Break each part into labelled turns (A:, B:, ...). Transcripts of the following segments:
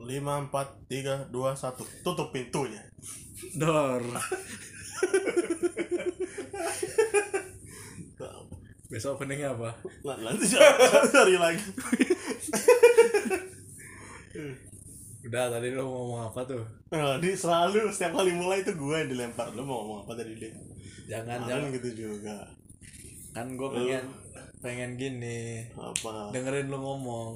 A: lima empat tiga dua satu tutup pintunya
B: Dor.
A: Nah,
B: Besok openingnya apa?
A: nanti cari lagi
B: Udah tadi lo mau ngomong apa tuh?
A: nah, di selalu setiap kali mulai itu gue yang dilempar lu mau ngomong apa tadi dia
B: Jangan jangan
A: jangan gitu juga
B: kan gue pengen pengen gini
A: apa
B: dengerin lo ngomong.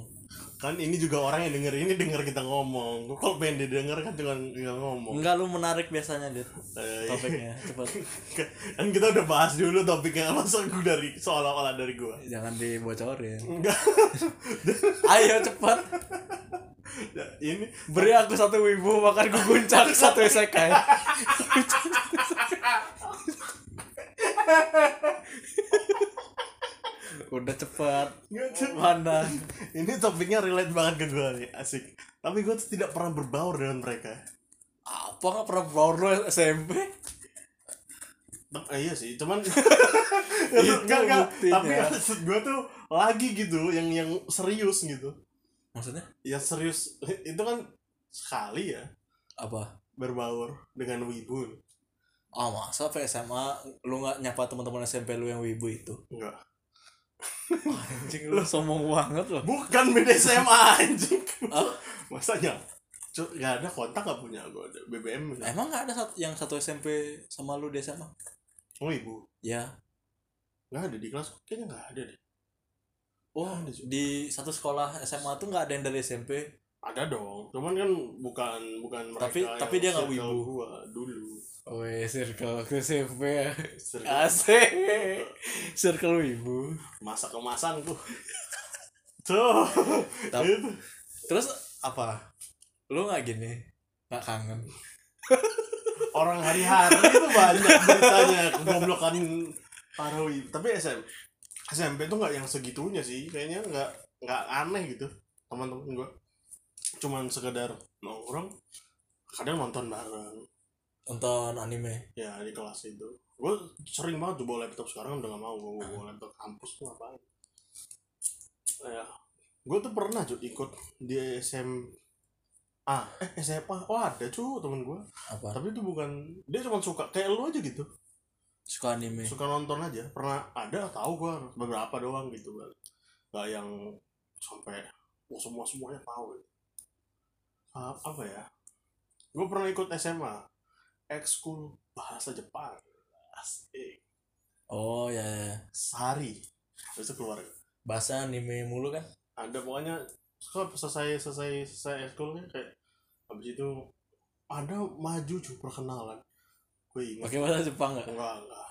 A: kan ini juga orang yang denger ini denger kita ngomong Gua kalau pengen didengar kan cuma tinggal ngomong
B: Enggak lu menarik biasanya dit
A: Eh,
B: topiknya cepet
A: kan kita udah bahas dulu topiknya masa gue dari seolah-olah dari gue
B: jangan dibocorin.
A: enggak
B: Ayo cepet
A: Nah, ini
B: beri aku satu wibu makan gue guncang satu isekai. Udah cepet
A: enggak, Cuk.
B: mana?
A: ini topiknya relate banget ke gue nih asik tapi gue tuh tidak pernah berbaur dengan mereka
B: Apa nggak pernah baur lo SMP?
A: Tem- eh, iya sih cuman Iya, enggak, enggak.
B: buktinya.
A: tapi maksud gue tuh lagi gitu yang yang serius gitu
B: Maksudnya
A: yang serius itu kan sekali ya
B: apa?
A: berbaur dengan wibu
B: Ah masa apa SMA lu nggak nyapa teman-teman SMP lu yang wibu itu?
A: enggak
B: Anjing lu sombong banget loh.
A: bukan beda SMA anjing
B: Ah.
A: masanya Cuk, gak ada kontak gak punya gue BBM nggak?
B: Emang nggak ada satu yang satu SMP sama lu di SMA?
A: oh ibu
B: Ya.
A: gak ada di kelas kayaknya gak ada deh
B: Oh, di satu sekolah SMA tuh nggak ada yang dari SMP.
A: ada dong cuman kan bukan bukan mereka
B: Tapi-
A: yang
B: tapi dia nggak
A: circle
B: wibu.
A: gua dulu
B: Weh, circle ke SMP ya.
A: Circle-
B: Asik. Circle wibu.
A: masa kemasan tuh tuh
B: Tapi-
A: Itu.
B: Terus apa? Lu nggak gini? Nggak kangen.
A: orang hari-hari itu banyak beritanya kegoblokan para wibu tapi SM, SMP tuh nggak yang segitunya sih kayaknya nggak nggak aneh gitu teman-teman gua cuman sekedar nongkrong kadang nonton bareng
B: Nonton anime.
A: ya di kelas itu gue sering banget tuh bawa laptop sekarang udah gak mau gue bawa laptop kampus tuh ngapain ya gue tuh pernah tuh ikut di SM ah eh SMA oh ada cuy temen gue
B: Apa?
A: tapi itu bukan dia cuma suka kayak lu aja gitu
B: Suka anime.
A: suka nonton aja pernah ada tahu gue beberapa doang gitu kan gak yang sampai wah semua semuanya tahu Ah, apa ya gue pernah ikut SMA ekskul bahasa Jepang asik
B: Oh ya, ya.
A: sehari Habis itu keluar
B: Bahasa anime mulu kan?
A: ada pokoknya setelah selesai selesai selesai ekskulnya kayak habis itu ada maju cuy perkenalan gue ingat
B: Pakai bahasa Jepang nggak?
A: enggak enggak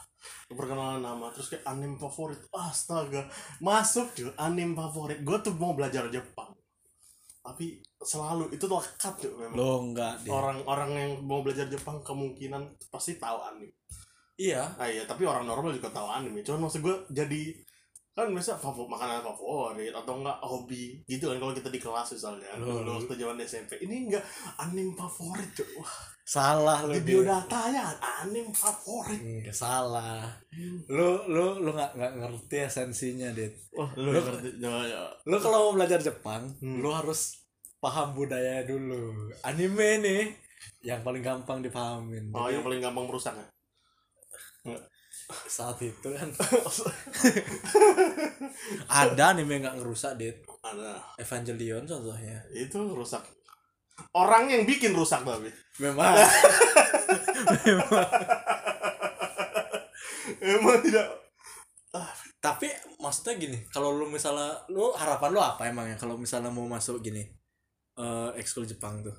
A: perkenalan nama terus kayak anime favorit astaga masuk cuy anime favorit gue tuh mau belajar Jepang tapi selalu itu tuh lekat cuy memang
B: Lo nggak deh.
A: orang-orang yang mau belajar Jepang kemungkinan pasti tahu anime
B: Iya.
A: ah iya tapi orang normal juga tahu anime cuman maksud gue jadi kan biasa favorit makanan favorit atau enggak hobi gitu kan kalau kita di kelas misalnya
B: Loh.
A: dulu waktu zaman SMP ini enggak anime favorit cuy wah
B: Salah Iya. lo
A: di biodatanya anime favorit
B: Nggak Ya salah. Lu lu lu nggak nggak ngerti esensinya, Dit.
A: wah lu
B: Lu-
A: ngerti ya, ya.
B: Lu kalau mau belajar Jepang,
A: Hmm.
B: lu harus paham budaya dulu. Anime nih yang paling gampang dipahamin.
A: Oh,
B: Jadi,
A: yang paling gampang merusak ya?
B: saat itu kan ada anime yang nggak ngerusak, Dit.
A: Ada.
B: Evangelion contohnya.
A: Itu rusak. Orang yang bikin rusak tapi.
B: Memang
A: Emang tidak.
B: tapi maksudnya gini kalau lu misalnya lu harapan lu apa emangnya kalau misalnya mau masuk gini eh ekskul Jepang tuh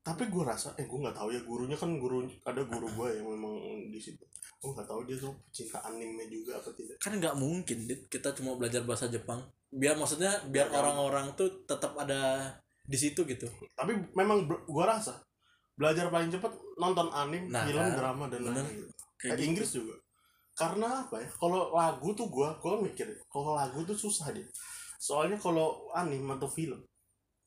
A: Tapi gue rasa, eh gue nggak tahu ya gurunya kan guru ada guru gue yang memang di situ. Gue nggak tahu dia tuh pecinta anime juga apa tidak.
B: kan nggak mungkin dit kita cuma belajar bahasa Jepang biar maksudnya biar
A: Nggak
B: orang-orang tuh tetap ada di situ gitu
A: Tapi memang gue rasa belajar paling cepat nonton anime,
B: Nah,
A: film,
B: kan.
A: drama dan
B: Bener.
A: lain-lain.
B: kayak gitu.
A: Eh, Inggris juga. Karena apa ya? Kalau lagu tuh gua gua mikir kalau lagu tuh susah deh. Soalnya kalau anime atau film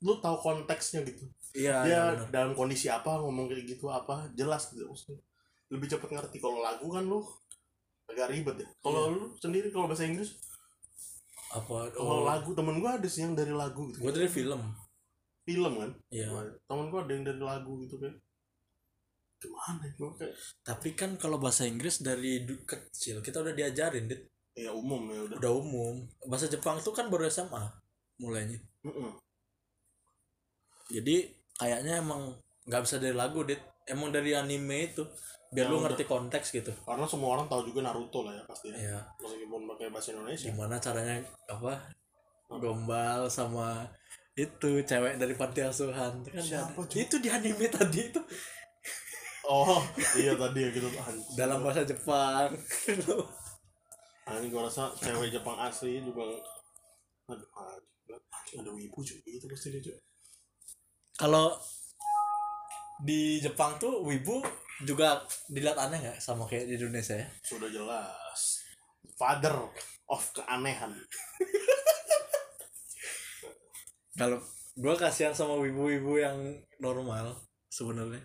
A: lu tahu konteksnya gitu.
B: iya iya,
A: Dia
B: bener.
A: dalam kondisi apa ngomong kayak gitu apa jelas gitu maksudnya. Lebih cepat ngerti
B: Iya.
A: kalau lagu kan lu agak ribet ya. Kalau lu sendiri kalau bahasa Inggris
B: apa
A: Kalau
B: oh,
A: lagu temen gue ada sih yang dari lagu gitu.
B: gue dari film
A: Film kan.
B: ya
A: Temen gue ada yang dari lagu gitu kan. Gimana? Gue kayak
B: tapi kan kalau bahasa Inggris dari du- kecil kita udah diajarin Dit.
A: ya umum ya udah.
B: udah umum bahasa Jepang tuh kan baru SMA mulainya
A: Mm-mm.
B: jadi kayaknya emang nggak bisa dari lagu dit emang dari anime itu biar
A: Ya,
B: lu
A: udah.
B: ngerti konteks gitu
A: Karena semua orang tahu juga Naruto lah ya pasti. Ya.
B: ya
A: Meskipun pakai bahasa Indonesia.
B: gimana caranya apa gombal sama itu cewek dari panti asuhan Itu kan
A: Siapa,
B: di-
A: cuy?
B: itu di anime tadi itu
A: Oh iya tadi ya gitu. Anjing.
B: dalam bahasa Jepang
A: Ini gue rasa cewek Jepang asli juga Aduh, anjing. Anjing, ada wibu juga gitu pasti dia juga.
B: kalau di Jepang tuh wibu juga dilihat aneh nggak sama kayak di Indonesia ya
A: Sudah jelas Father of keanehan
B: kalau gua kasihan sama wibu-wibu yang normal sebenarnya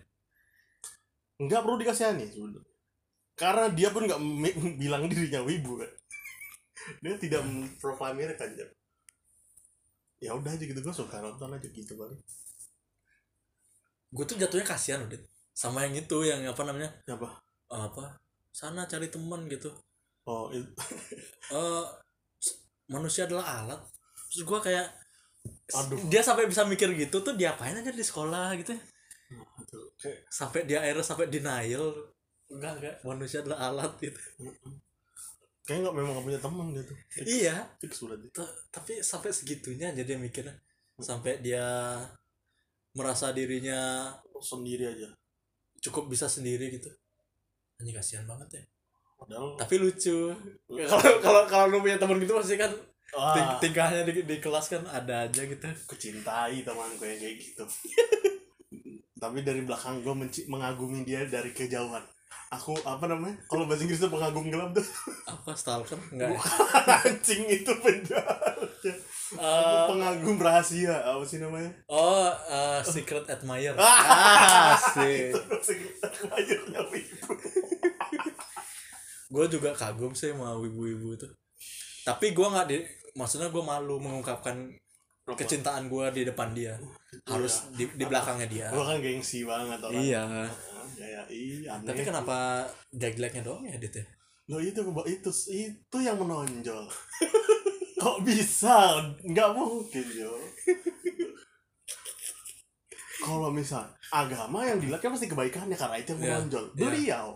A: nggak perlu dikasihani sebenarnya karena dia pun nggak me- bilang dirinya wibu kan dia tidak memproklamirkan kan ya udah aja gitu gue suka nonton aja gitu kali
B: gue tuh jatuhnya kasihan udah sama yang itu yang apa namanya
A: Ya apa
B: apa sana cari teman gitu
A: oh itu
B: eh s- manusia adalah alat terus gue kayak s-
A: Aduh.
B: dia sampai bisa mikir gitu tuh diapain aja di sekolah gitu ya.
A: itu kayak
B: sampai dia akhirnya sampai denial enggak enggak manusia adalah alat gitu
A: kayak nggak memang nggak punya teman gitu fix,
B: iya
A: fix berarti
B: ta- tapi sampai segitunya aja dia mikirnya sampai dia merasa dirinya
A: sendiri aja
B: cukup bisa sendiri gitu anjing kasihan banget ya
A: padahal
B: tapi lucu kalau kalau kalau lu punya temen gitu pasti kan ting-
A: wah,
B: tingkahnya di, di kelas kan ada aja gitu
A: kucintai temanku yang kayak gitu tapi dari belakang gue menci- mengagumi dia dari kejauhan aku apa namanya kalau bahasa Inggris tuh pengagum gelap tuh
B: apa stalker enggak ya?
A: anjing itu penjahatnya
B: Eh,
A: pengagum rahasia apa sih namanya
B: oh eh, secret admirer
A: Ah.
B: sih
A: akhirnya wibu
B: gue juga kagum sih sama ibu-ibu itu tapi gue nggak di maksudnya gue malu mengungkapkan kecintaan gue di depan dia harus di, di belakangnya dia
A: gue kan gengsi banget orang
B: Uh, Oh, iya
A: ya, ya, iya aneh
B: tapi kan kenapa jelek-jeleknya doang ya dit ya
A: lo itu keba- itu itu yang menonjol kok bisa nggak mungkin yo kalau misal agama yang dilihat kan pasti kebaikannya karena itu yang
B: Iya,
A: menonjol
B: iya.
A: beliau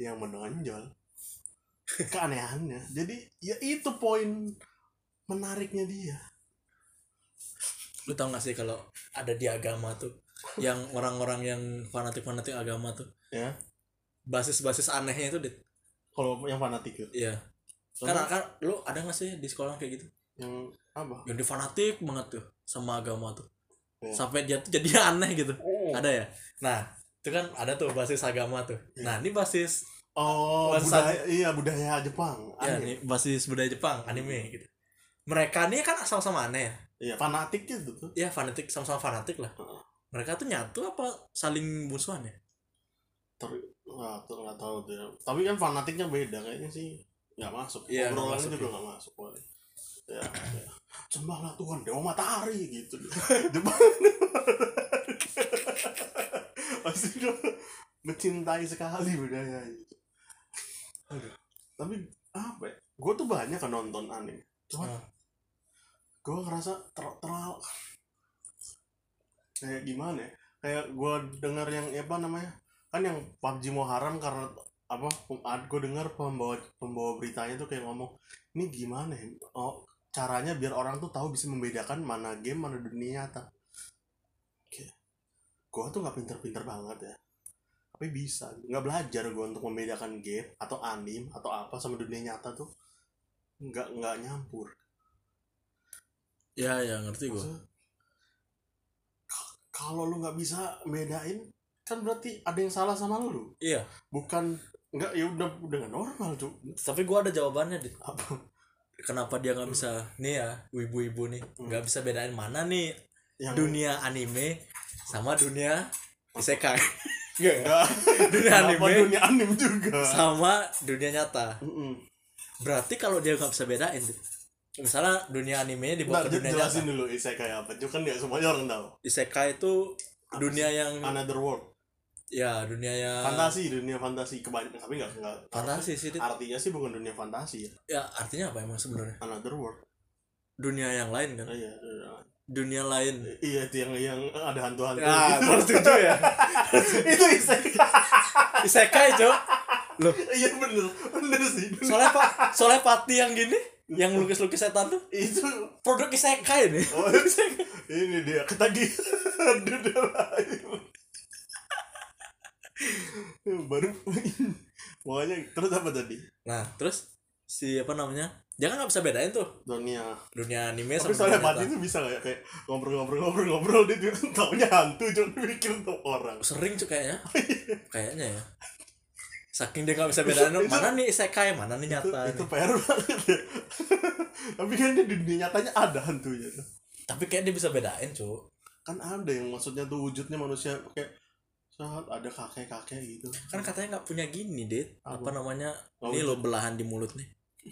A: yang menonjol keanehannya jadi ya itu poin menariknya dia
B: lu tau gak sih kalau ada di agama tuh yang orang-orang yang fanatik-fanatik agama tuh
A: ya
B: basis-basis anehnya itu dit
A: kalau yang fanatik itu
B: iya kan
A: Karena
B: kan lu ada gak sih di sekolah kayak gitu
A: yang apa
B: yang dia fanatik banget tuh sama agama tuh
A: Iya.
B: sampai dia tuh jadi aneh gitu
A: oh,
B: ada ya nah itu kan ada tuh basis agama tuh nah ini basis Bahasa-
A: budaya iya budaya Jepang
B: ya
A: aneh.
B: ini basis budaya Jepang anime gitu mereka nih kan sama-sama aneh ya
A: iya fanatik itu tuh
B: ya fanatik sama-sama fanatik lah
A: Heeh.
B: mereka tuh nyatu apa saling musuhan ya
A: ter nggak ter nggak tahu tuh ya. tapi kan fanatiknya beda kayaknya sih nggak masuk
B: Iya, nggak
A: obrolannya
B: masuk,
A: juga
B: ya.
A: nggak masuk boleh ya, ya. sembahlah Tuhan dewa matahari gitu depan pasti dia mencintai sekali budaya itu Aduh. tapi apa ya? gue tuh banyak kan nonton anime cuman
B: Hmm.
A: gue ngerasa ter terlalu kayak gimana ya kayak gue dengar yang apa namanya kan yang PUBG mau haram karena apa gue dengar pembawa pembawa beritanya tuh kayak ngomong ini gimana ya oh caranya biar orang tuh tahu bisa membedakan mana game mana dunia nyata Oke. gue tuh nggak pinter-pinter banget ya tapi bisa nggak belajar gue untuk membedakan game atau anime atau apa sama dunia nyata tuh nggak nggak nyampur
B: ya ya ngerti gue
A: Maksudnya, k- kalau lu nggak bisa bedain kan berarti ada yang salah sama lu
B: iya
A: bukan nggak ya udah udah nggak normal cuy
B: tapi gua ada jawabannya deh
A: apa
B: kenapa dia nggak bisa nih ya wibu-wibu nih nggak bisa bedain mana nih
A: yang
B: dunia anime sama dunia isekai Nggak ya?
A: Nggak.
B: dunia
A: Kenapa
B: anime
A: dunia anime juga
B: sama dunia nyata
A: Mm-mm.
B: berarti kalau dia nggak bisa bedain tuh. misalnya dunia animenya dibawa
A: Nggak,
B: ke
A: j-
B: dunia nyata
A: jelasin dulu isekai apa. Itu kan nggak semuanya orang tahu.
B: isekai itu dunia yang
A: Another world.
B: ya dunia yang
A: Fantasi, dunia fantasi kebanyakan tapi nggak nggak.
B: fantasi sih Dit.
A: Artinya sih bukan dunia fantasi ya.
B: ya artinya apa emang sebenarnya
A: Another world.
B: dunia yang lain kan
A: Iya, iya.
B: dunia lain
A: Iya, itu yang yang ada hantu-hantu.
B: ah
A: gitu.
B: baru setuju ya
A: itu isekai.
B: isekai cok
A: Iya bener, bener sih. bener.
B: soalnya pak soalnya pati yang gini yang lukis lukis setan tuh
A: Itu
B: produk isekai nih
A: Oh, ini dia ketagihan dunia lain. Baru pokoknya terus apa tadi?
B: nah terus si apa namanya jangan nggak bisa bedain tuh
A: Dunia.
B: dunia anime
A: Tapi
B: sama
A: soalnya
B: dunia
A: mati
B: nyata.
A: itu bisa nggak ya? kayak ngobrol-ngobrol-ngobrol-ngobrol dia tuh taunya hantu cuma mikir untuk orang.
B: sering tuh kayaknya kayaknya ya saking dia nggak bisa bedain
A: Itu-
B: mana nih isekai mana nih
A: Itu,
B: nyata
A: itu
B: nih.
A: PR banget ya. Tapi kan di dunia nyatanya ada hantunya tuh.
B: tapi kayak dia bisa bedain cok
A: Kan ada yang maksudnya tuh wujudnya manusia kayak saat ada kakek-kakek gitu.
B: kan katanya nggak punya gini deh apa Oh, iya.
A: Apa?
B: namanya
A: Nggak
B: ini
A: punya.
B: lo belahan di mulut nih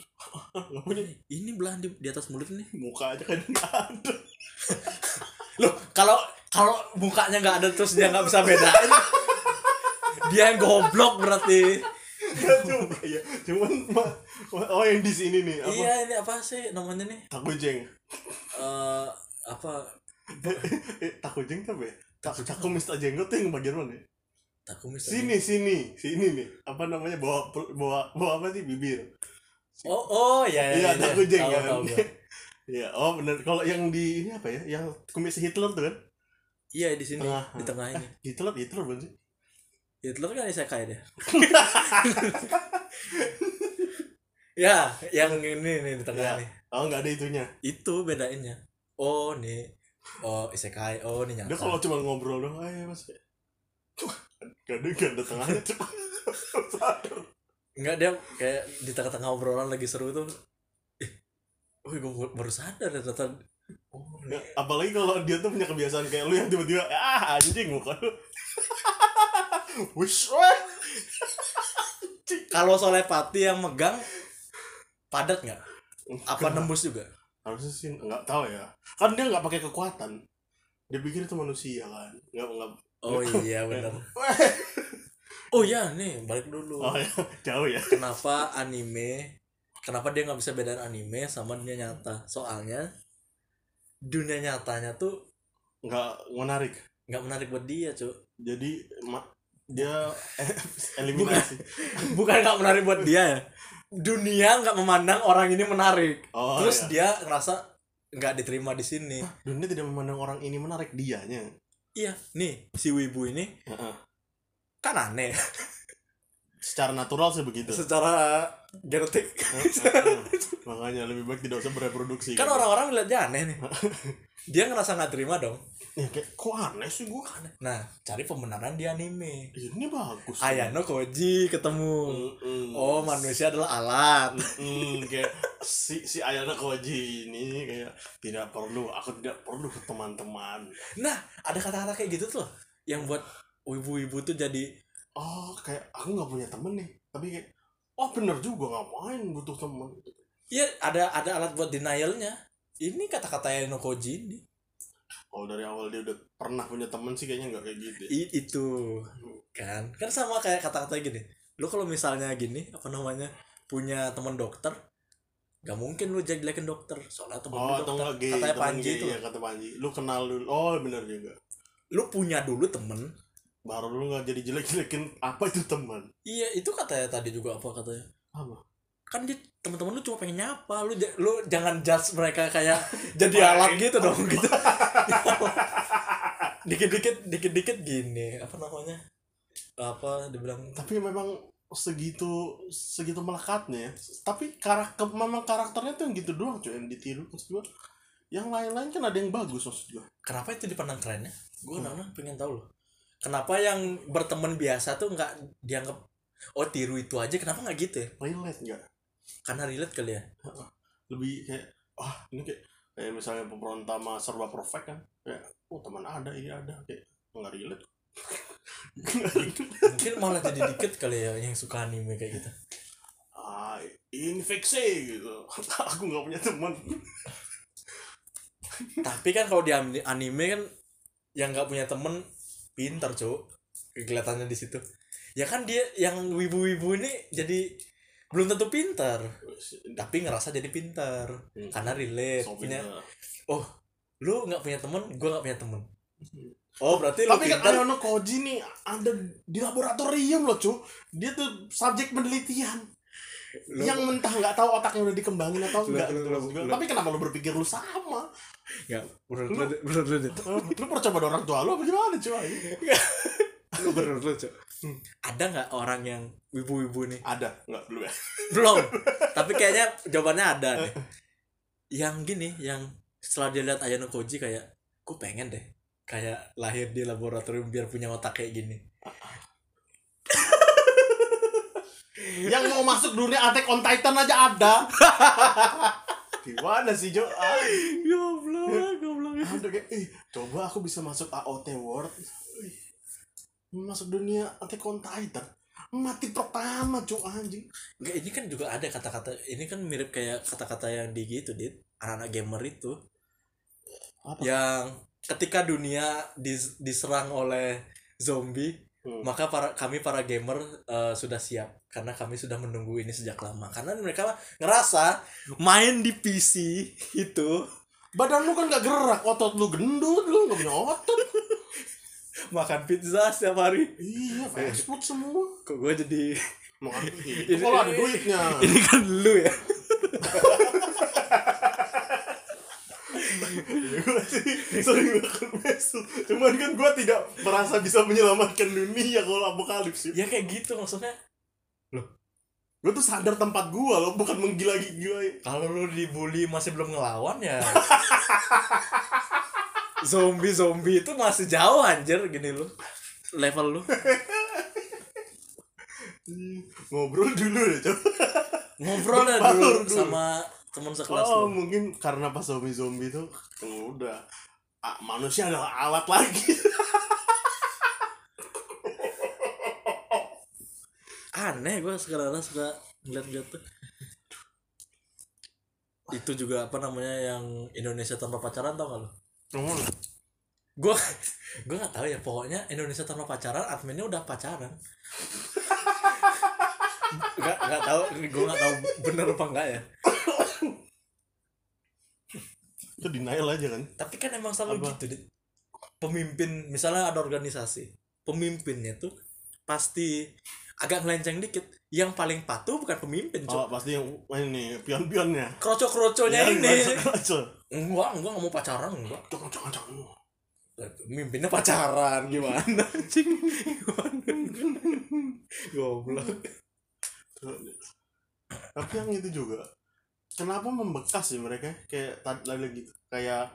A: Nggak
B: Oh,
A: punya
B: ini belahan di, di atas mulut nih
A: muka aja kan nggak ada.
B: loh kalau kalau mukanya nggak ada terus dia nggak bisa bedain dia yang goblok berarti
A: Ya, cuma ya cuman ma- ma- oh yang di sini nih apa
B: iya ini apa sih namanya nih
A: takujeng
B: Eh apa
A: eh, takujeng apa ya tak takum mista jenggot tuh yang bagian mana
B: Iya.
A: ya?
B: takumis tadi.
A: sini sini sini nih apa namanya bawa pel- bawa bawa apa sih bibir
B: oh oh ya
A: iya
B: ya
A: takujeng
B: Tahu,
A: kan
B: tahu gua.
A: iya oh bener kalau yang di ini apa ya yang kumis Hitler tuh kan
B: iya di sini
A: Tengah.
B: di tengah ini
A: Hitler Hitler bukan sih
B: Hitler kan isekai dia ya yang ini nih di tengah
A: Ya.
B: nih
A: oh nggak ada itunya
B: itu bedainnya oh nih oh isekai oh nih
A: dia
B: nyata
A: kalau cuma ngobrol doang eh mas gak ada gak ada tengahnya cuma
B: Enggak dia kayak di tengah-tengah obrolan lagi seru tuh. Eh, wih gue baru sadar ya ternyata oh,
A: Ya, apalagi kalau dia tuh punya kebiasaan kayak lu yang tiba-tiba ah anjing muka lu wish wah.
B: kalau solepati yang megang padat nggak?
A: Enggak,
B: Apa nembus juga?
A: harusnya sih nggak tahu ya kan dia nggak pakai kekuatan dia pikir itu manusia kan nggak nggak
B: Oh iya benar. Oh iya nih balik dulu.
A: oh, ya. jauh ya
B: Kenapa anime? Kenapa dia nggak bisa bedain anime sama dunia nyata? Soalnya dunia nyatanya tuh
A: nggak menarik
B: nggak menarik buat dia cuy.
A: jadi ma- dia eh, eliminasi
B: Bukan nggak menarik buat dia ya. Dunia nggak memandang orang ini menarik.
A: oh
B: terus
A: ya.
B: dia ngerasa nggak diterima di sini
A: dunia tidak memandang orang ini menarik dianya
B: iya nih si wibu ini
A: Heeh.
B: kan aneh
A: secara natural sih begitu
B: secara genetik
A: Heeh. makanya lebih baik tidak usah gitu. bereproduksi
B: kan orang-orang ngeliat dia aneh nih dia ngerasa nggak terima dong
A: ya, kayak kok aneh sih gua
B: nah cari pembenaran di anime
A: ini bagus
B: Ayano Koji
A: Hmm.
B: ketemu
A: Mm-mm.
B: oh manusia adalah alat
A: Mm, kayak si si Ayana Koji ini kayak tidak perlu aku tidak perlu teman-teman
B: nah ada kata-kata kayak gitu tuh loh, yang buat wibu-wibu tuh jadi
A: oh kayak aku nggak punya temen nih tapi kayak oh bener juga ngapain butuh temen
B: ya ada ada alat buat denialnya ini kata-kata Ayano Koji ini
A: kalau dari awal dia udah pernah punya temen sih kayaknya nggak kayak gitu ya.
B: I- itu kan kan sama kayak kata-kata gini lu kalau misalnya gini apa namanya punya teman dokter gak mungkin lu jelek-jelekin dokter soalnya temen
A: oh
B: lu
A: atau
B: dokter
A: nggak gay
B: katanya
A: temen
B: Panji
A: gay,
B: itu
A: ya, kata Panji lu kenal dulu oh bener juga
B: lu punya dulu temen
A: baru lu nggak jadi jelek-jelekin apa itu teman
B: iya itu katanya tadi juga apa katanya
A: Apa?
B: kan dia teman-teman lu cuma pengen nyapa lu ja- lu jangan judge mereka kayak jadi alat gitu dong gitu dikit-dikit dikit-dikit gini apa namanya apa dibilang
A: tapi memang segitu segitu melekatnya ya. tapi karakter memang karakternya tuh yang gitu doang cuy yang ditiru maksud gua yang lain-lain kan ada yang bagus maksud gua
B: kenapa itu dipandang keren ya? Gue nana pengen tahu loh. Kenapa yang berteman biasa tuh nggak dianggap oh tiru itu aja kenapa nggak gitu ya?
A: relate nggak
B: Karena relate kali ya.
A: lebih kayak wah ini kayak kayak misalnya pemberontama serba perfect kan kayak oh teman ada ini ada kayak nggak relate Nggak relate.
B: Mungkin malah jadi dikit kali ya yang suka anime kayak gitu.
A: ah, infeksi gitu aku nggak punya teman
B: tapi kan kalau di ani- anime kan yang nggak punya temen pinter cuk kelihatannya di situ ya kan dia yang wibu-wibu ini jadi belum tentu pinter tapi ngerasa jadi pinter
A: Hmm.
B: karena relate
A: So,
B: punya
A: pinter.
B: oh lu nggak punya temen gue nggak punya temen oh berarti lu
A: Hmm. tapi kan
B: pinter
A: Ayono Koji nih ada di laboratorium loh cu dia tuh subjek penelitian
B: Lu-
A: yang mentah nggak tahu otaknya udah dikembangin atau
B: Lu-
A: enggak
B: lu-
A: gitu
B: lu-
A: maksud gua.
B: lu-
A: tapi kenapa lu berpikir lu sama
B: nggak menurut lu menurut lu Dit.
A: Eh, lu percaya pada orang tua lu apa gimana cuy
B: Lu menurut lu Cuk.
A: Hmm.
B: ada nggak orang yang wibu-wibu nih
A: ada nggak belum ya
B: belum tapi kayaknya jawabannya ada nih yang gini yang setelah dia lihat Ayano Koji kayak gue pengen deh kayak lahir di laboratorium biar punya otak kayak gini
A: yang mau masuk dunia Attack on Titan aja ada gimana sih Jo Ah,
B: goblok goblok
A: ada kayak ih coba aku bisa masuk AOT World Ih, masuk dunia Attack on Titan mati pertama cu anjing
B: Nggak, ini kan juga ada kata-kata ini kan mirip kayak kata-kata yang di gitu dit anak-anak gamer itu
A: Apa?
B: yang ketika dunia dis- diserang oleh zombie
A: Hmm.
B: maka para kami para gamer eh, sudah siap karena kami sudah menunggu ini sejak lama karena mereka ngerasa main di PC itu
A: badan lu kan gak gerak otot lu gendut lu gak punya otot
B: makan pizza setiap hari
A: iya explode semua
B: kok gue jadi
A: mau ngerti kalau ada duitnya
B: ini kan lu ya
A: Iya, Gua sih sering makan mesu cuman kan gue tidak merasa bisa menyelamatkan dunia kalau apokalips
B: ya kayak gitu maksudnya
A: gue tuh sadar tempat gue loh bukan menggila-gila
B: kalau lu dibully masih belum ngelawan ya zombie zombie itu masih jauh anjir gini lu level lu
A: ngobrol dulu deh coba
B: ngobrol dah
A: Baru
B: dulu
A: dulu.
B: sama teman sekelas
A: oh
B: lu
A: mungkin karena pas zombie zombie tuh oh, udah ah, manusia adalah alat lagi
B: aneh gue sekarang suka ngeliat-ngeliat tuh itu juga apa namanya yang Indonesia tanpa pacaran tau gak lu gue gue nggak tahu ya pokoknya Indonesia tanpa pacaran adminnya udah pacaran nggak nggak tahu gue nggak tahu bener apa enggak ya
A: itu denial aja kan
B: tapi kan emang selalu
A: Apa?
B: gitu Dit. pemimpin misalnya ada organisasi pemimpinnya tuh pasti agak ngelenceng dikit yang paling patuh bukan
A: oh,
B: pemimpin
A: Iya,
B: cok
A: pasti yang ini pion-pionnya
B: kroco-kroconya
A: Yang
B: ini
A: kacau-kacau.
B: enggak enggak nggak mau pacaran enggak
A: Jangan, jangan, jangan.
B: pemimpinnya pacaran gimana cing goblok
A: tapi yang itu juga kenapa membekas sih mereka kayak tadi lagi gitu kayak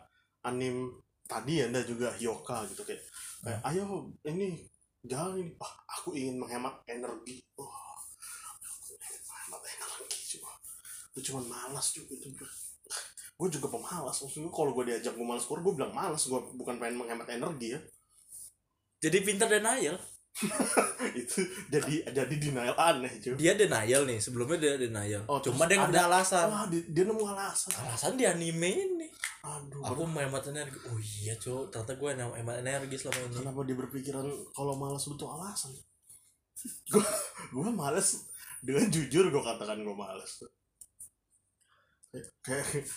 A: anim tadi ya ada juga Hyoka gitu kayak kayak ayo ini jalan ini ah aku ingin menghemat energi wah aku ingin menghemat energi cuma gue cuma malas juga itu gue juga pemalas maksudnya kalau gue diajak gue malas keluar gue bilang malas gue bukan pengen menghemat energi ya
B: jadi pinter denial
A: itu jadi jadi denial aneh cuy
B: dia denial nih sebelumnya dia denial
A: Oh,
B: cuma
A: terus
B: dia nggak ada alasan
A: wah dia, dia nemu alasan
B: alasan di anime ini
A: aduh
B: aku mau hemat energi oh iya cok ternyata gue yang hemat energi selama ini
A: kenapa dia berpikiran kalau malas butuh alasan gue gue malas dengan jujur gue katakan gue malas kayak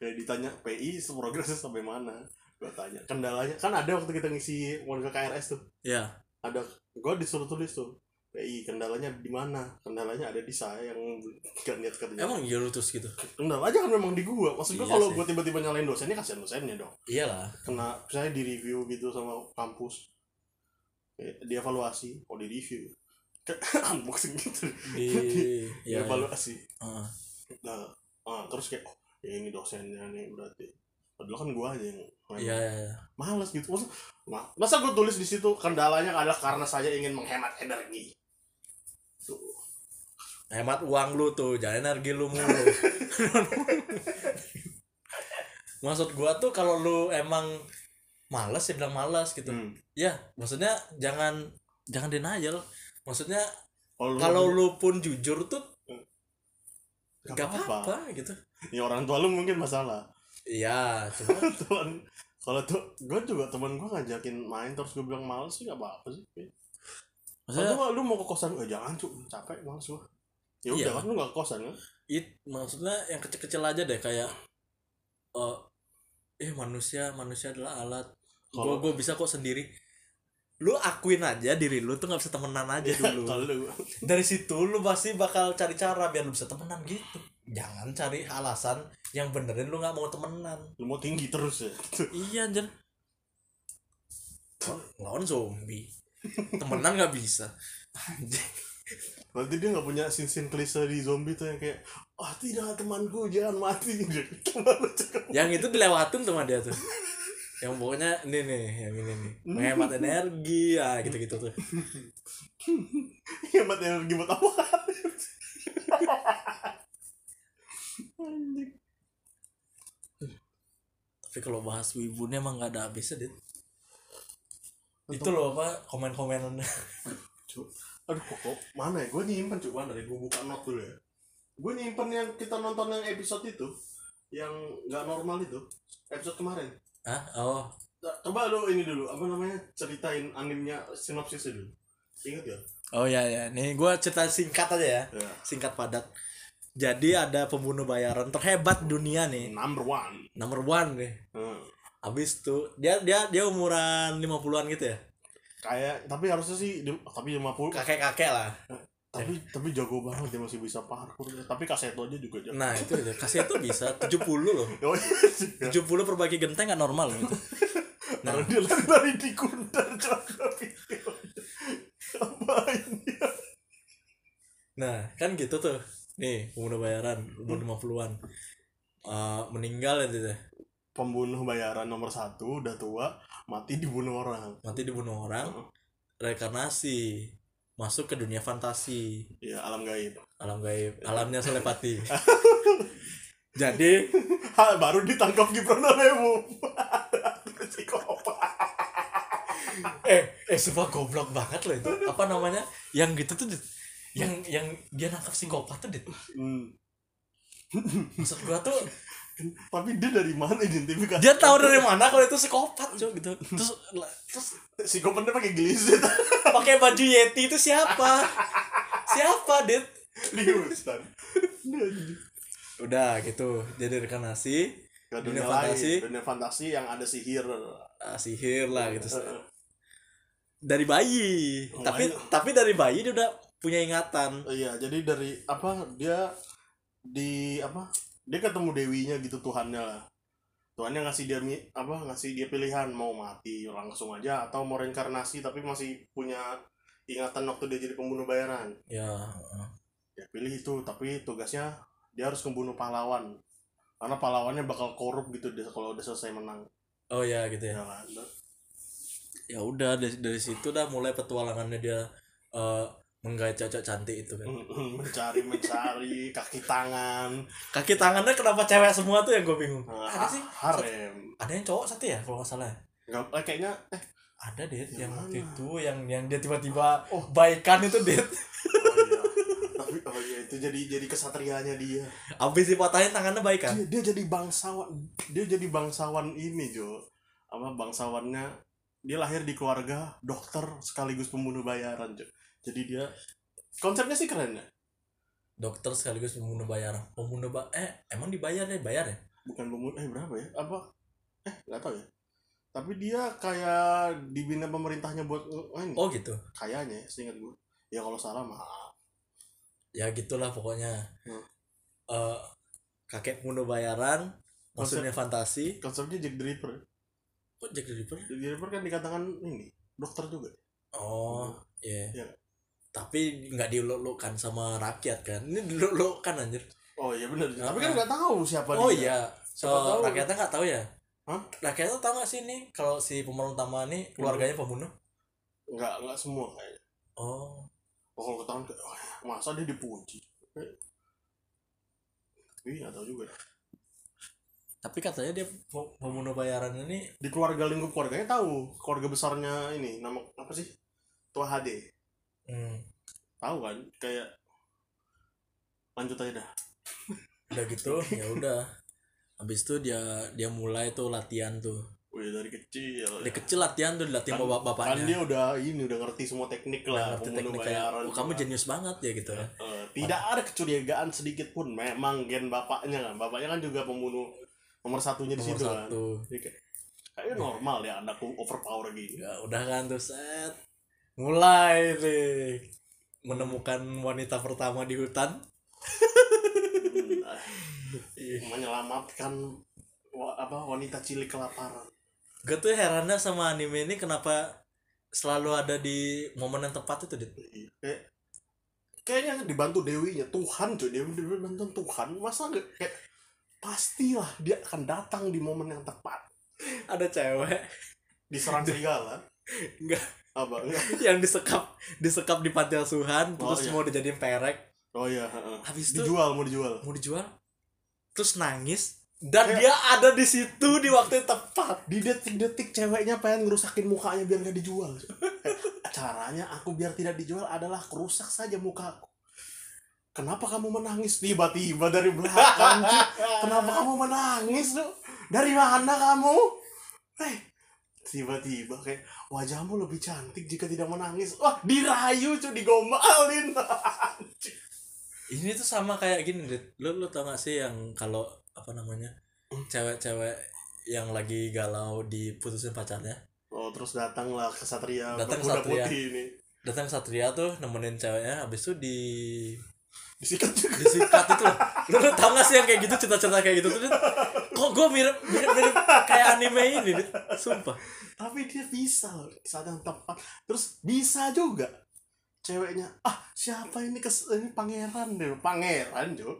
A: kayak ditanya PI progresnya sampai mana gue tanya kendalanya kan ada waktu kita ngisi modul KRS tuh
B: ya
A: ada gue disuruh tulis tuh PI kendalanya di mana kendalanya ada di saya yang gak niat kerja
B: emang iya lu terus gitu
A: kendalanya kan memang di gua maksud gue
B: Iya
A: kalau
B: sih.
A: gue tiba-tiba nyalain dosennya kasihan dosennya dong
B: iyalah
A: kena misalnya di review gitu sama kampus Eh, di evaluasi oh di review unboxing gitu
B: di
A: di iya,
B: ya, ya.
A: evaluasi
B: Heeh.
A: nah, ah, terus kayak oh, ya ini dosennya nih berarti padahal kan gua aja yang
B: iya iya iya.
A: malas gitu Maksud- ma- masa gua tulis di situ kendalanya adalah karena saya ingin menghemat energi tuh
B: hemat uang lu tuh jangan energi lu mulu maksud gua tuh kalau lu emang males ya bilang males gitu
A: Hmm.
B: ya maksudnya jangan jangan denial maksudnya kalau lu pun jujur tuh
A: Gak
B: gak
A: apa-apa.
B: apa-apa gitu
A: ya orang tua lu mungkin masalah
B: iya cuma
A: teman kalau tuh gue juga teman gue ngajakin main terus gue bilang males sih gak apa-apa sih
B: maksudnya
A: kalau lu mau ke kosan eh jangan cuk capek males gue ya udah
B: Iya.
A: kan lu gak ke kosan kan
B: it maksudnya yang kecil-kecil aja deh kayak eh eh manusia manusia adalah alat gue
A: Kalau-
B: gue bisa kok sendiri lu akuin aja diri lu tuh nggak bisa temenan aja dulu
A: Iya, kalau lu
B: dari situ lu pasti bakal cari cara biar lu bisa temenan gitu jangan cari alasan yang benerin lu nggak mau temenan
A: lu mau tinggi terus ya
B: iya anjir lawan zombie temenan nggak bisa Anjing.
A: berarti dia gak punya sin-sin klise di zombie tuh yang kayak ah tidak temanku jangan mati Dia kemana, cakep.
B: yang itu dilewatin tuh sama dia tuh yang pokoknya ini nih yang ini nih menghemat energi ah gitu gitu tuh
A: hemat energi buat apa Anjing.
B: tapi kalau bahas wibunya emang nggak ada habisnya dit itu
A: Untung-
B: loh apa komen-komen
A: Cuk. aduh kok, kok mana ya gue nyimpen cuk mana ya gue buka not dulu ya gue nyimpen yang kita nonton yang episode itu yang nggak normal itu episode kemarin
B: ah oh
A: Nah, coba lu ini dulu apa namanya ceritain animnya sinopsisnya dulu ingat ya
B: oh ya ya nih gue cerita singkat aja ya
A: ya
B: singkat padat jadi ada pembunuh bayaran terhebat dunia
A: Eh,
B: nih
A: number one
B: nomor one nih
A: Hmm.
B: Abis tuh dia dia dia umuran 50-an gitu ya.
A: kayak tapi harusnya sih di- tapi 50
B: Kakek-kakek lah.
A: tapi tapi jago banget dia masih bisa parkur tapi kaseto aja juga jago
B: Nah, itu aja. Kasih itu bisa 70 loh.
A: oh, iya.
B: 70 perbagi genteng nggak normal loh itu. Nah.
A: Karena dia lari dari di kundan jaga video apa ini
B: Nah, kan gitu tuh. Nih, pembunuh bayaran umur 50-an. Eh, meninggal ya gitu.
A: pembunuh bayaran nomor satu udah tua mati dibunuh orang
B: Mati dibunuh orang, rekarnasi, masuk ke dunia fantasi,
A: ya alam gaib
B: alam gaib, alamnya Selepati. Jadi,
A: ha, baru ditangkap Gibran Rebo psikopat
B: eh eh sumpah goblok banget loh itu apa namanya yang gitu tuh Dit. yang yang dia nangkap psikopat tuh dit
A: Hmm.
B: maksud gua tuh
A: tapi dia dari mana identifikasi
B: dia tahu dari mana kalau itu psikopat cuy gitu terus terus
A: psikopatnya pakai gelisit
B: pakai baju yeti itu siapa siapa dit
A: di hutan
B: udah gitu jadi rekanasi
A: Ke
B: Dunia fantasi.
A: lain, dunia fantasi yang ada sihir
B: ah, sihir lah gitu dari bayi
A: Oh,
B: tapi
A: bayi.
B: tapi dari bayi dia udah punya ingatan
A: iya jadi dari apa dia di apa dia ketemu dewinya gitu Tuhannya lah Tuhannya ngasih dia mi- apa ngasih dia pilihan mau mati langsung aja atau mau reinkarnasi tapi masih punya ingatan waktu dia jadi pembunuh bayaran
B: ya
A: ya pilih itu tapi tugasnya dia harus membunuh pahlawan karena pahlawannya bakal korup gitu dia kalau udah selesai menang
B: oh ya gitu ya
A: ya kan
B: ya udah dari, dari situ dah mulai petualangannya dia eh menggait cocok cantik itu kan
A: mencari mencari kaki tangan
B: kaki tangannya kenapa cewek semua tuh yang gue bingung ada
A: Nah,
B: sih
A: harem
B: ada yang cowok satu ya kalau nggak salah ya?
A: Nggak, eh, kayaknya eh
B: ada deh
A: Yang
B: yang
A: mana?
B: waktu itu yang yang dia tiba-tiba
A: Oh.
B: baikan itu deh
A: oh iya. tapi oh iya itu jadi jadi kesatriaannya dia
B: abis dipatahin tangannya baikan
A: dia, dia jadi bangsawan dia jadi bangsawan ini Jo apa bangsawannya dia lahir di keluarga dokter sekaligus pembunuh bayaran Jo jadi dia konsepnya sih keren ya
B: dokter sekaligus pembunuh bayaran pembunuh ba eh emang dibayar deh bayar ya
A: bukan pembunuh eh berapa ya apa eh nggak tahu ya tapi dia kayak dibina pemerintahnya buat eh, ini
B: oh gitu
A: kayaknya ya, seingat gue ya kalau salah maaf
B: ya gitulah pokoknya
A: Hmm.
B: Eh, kakek pembunuh bayaran
A: Konsep-
B: maksudnya fantasi
A: konsepnya Jack the Ripper
B: kok Jack the Ripper ya?
A: Jack the Ripper kan dikatakan ini dokter juga
B: Oh, iya.
A: Iya.
B: Tapi nggak dilulukan sama rakyat kan? Ini dilulukan anjir.
A: oh iya benar Eh,
B: Ya,
A: tapi kan nggak tahu siapa
B: Oh
A: dia
B: iya. So,
A: Siapa tahu.
B: rakyatnya nggak tahu ya?
A: Hah?
B: Rakyatnya tahu nggak sih ini kalau si pemeran utama ini keluarganya pembunuh?
A: nggak nggak semua kayaknya
B: Oh,
A: oh, kalau ketahuan kayak "Wah, masa dia dipuji Eh. tapi nggak tahu juga
B: tapi katanya dia pe- pembunuh bayaran ini
A: di keluarga lingkup keluarganya tahu keluarga besarnya ini nama apa sih tua HD
B: hmm,
A: tahu kan kayak lanjut aja dah
B: udah gitu ya udah habis itu dia dia mulai tuh latihan tuh
A: Wih, Oh, iya, dari kecil
B: dia kecil latihan tuh dilatih sama bap-
A: kan
B: bapaknya
A: dia udah ini udah ngerti semua teknik lah
B: ngerti
A: pembunuh
B: tekniknya
A: bayaran
B: oh, kamu jenius banget ya gitu kan
A: Eh, tidak ada kecurigaan sedikit pun memang gen bapaknya kan bapaknya kan juga pembunuh nomor satunya di
B: nomor
A: situ kan
B: satu
A: Jadi kayak, kayaknya normal ya anakku overpower gini
B: ya udah kan tuh set mulai deh menemukan wanita pertama di hutan
A: Hmm, menyelamatkan wa- apa wanita cilik kelaparan
B: gue tuh herannya sama anime ini kenapa selalu ada di momen yang tepat itu Dit.
A: Kayak- kayaknya dibantu dewinya Tuhan cuy dia dia bantu Tuhan masa nggak kayak pastilah dia akan datang di momen yang tepat
B: ada cewek
A: diserang serigala
B: Enggak.
A: apa enggak
B: yang disekap disekap di panti asuhan
A: Oh,
B: terus
A: iya.
B: mau dijadiin perek
A: oh iya heeh.
B: habis itu
A: dijual mau dijual
B: mau dijual terus nangis dan
A: Kayak-
B: dia ada di situ di waktu yang tepat
A: di detik-detik ceweknya pengen ngerusakin mukanya biar nggak dijual caranya aku biar tidak dijual adalah kerusak saja mukaku kenapa kamu menangis tiba-tiba dari belakang Cuk? kenapa kamu menangis lu dari mana kamu eh tiba-tiba kayak wajahmu lebih cantik jika tidak menangis wah dirayu cuy digombalin
B: ini tuh sama kayak gini Dit. lu lu tau gak sih yang kalau apa namanya cewek-cewek yang lagi galau diputusin pacarnya
A: oh terus datanglah kesatria
B: Datang
A: berkuda
B: kesatria.
A: putih ini
B: datang satria tuh nemenin ceweknya habis itu di
A: disikat juga
B: disikat itu loh. lu, lu tau gak sih yang kayak gitu cerita-cerita kayak gitu tuh Dit? kok gue mirip mirip mirip kayak anime ini Dit? sumpah
A: tapi dia bisa loh di saat yang tepat terus bisa juga ceweknya ah siapa ini kes ini pangeran deh pangeran jo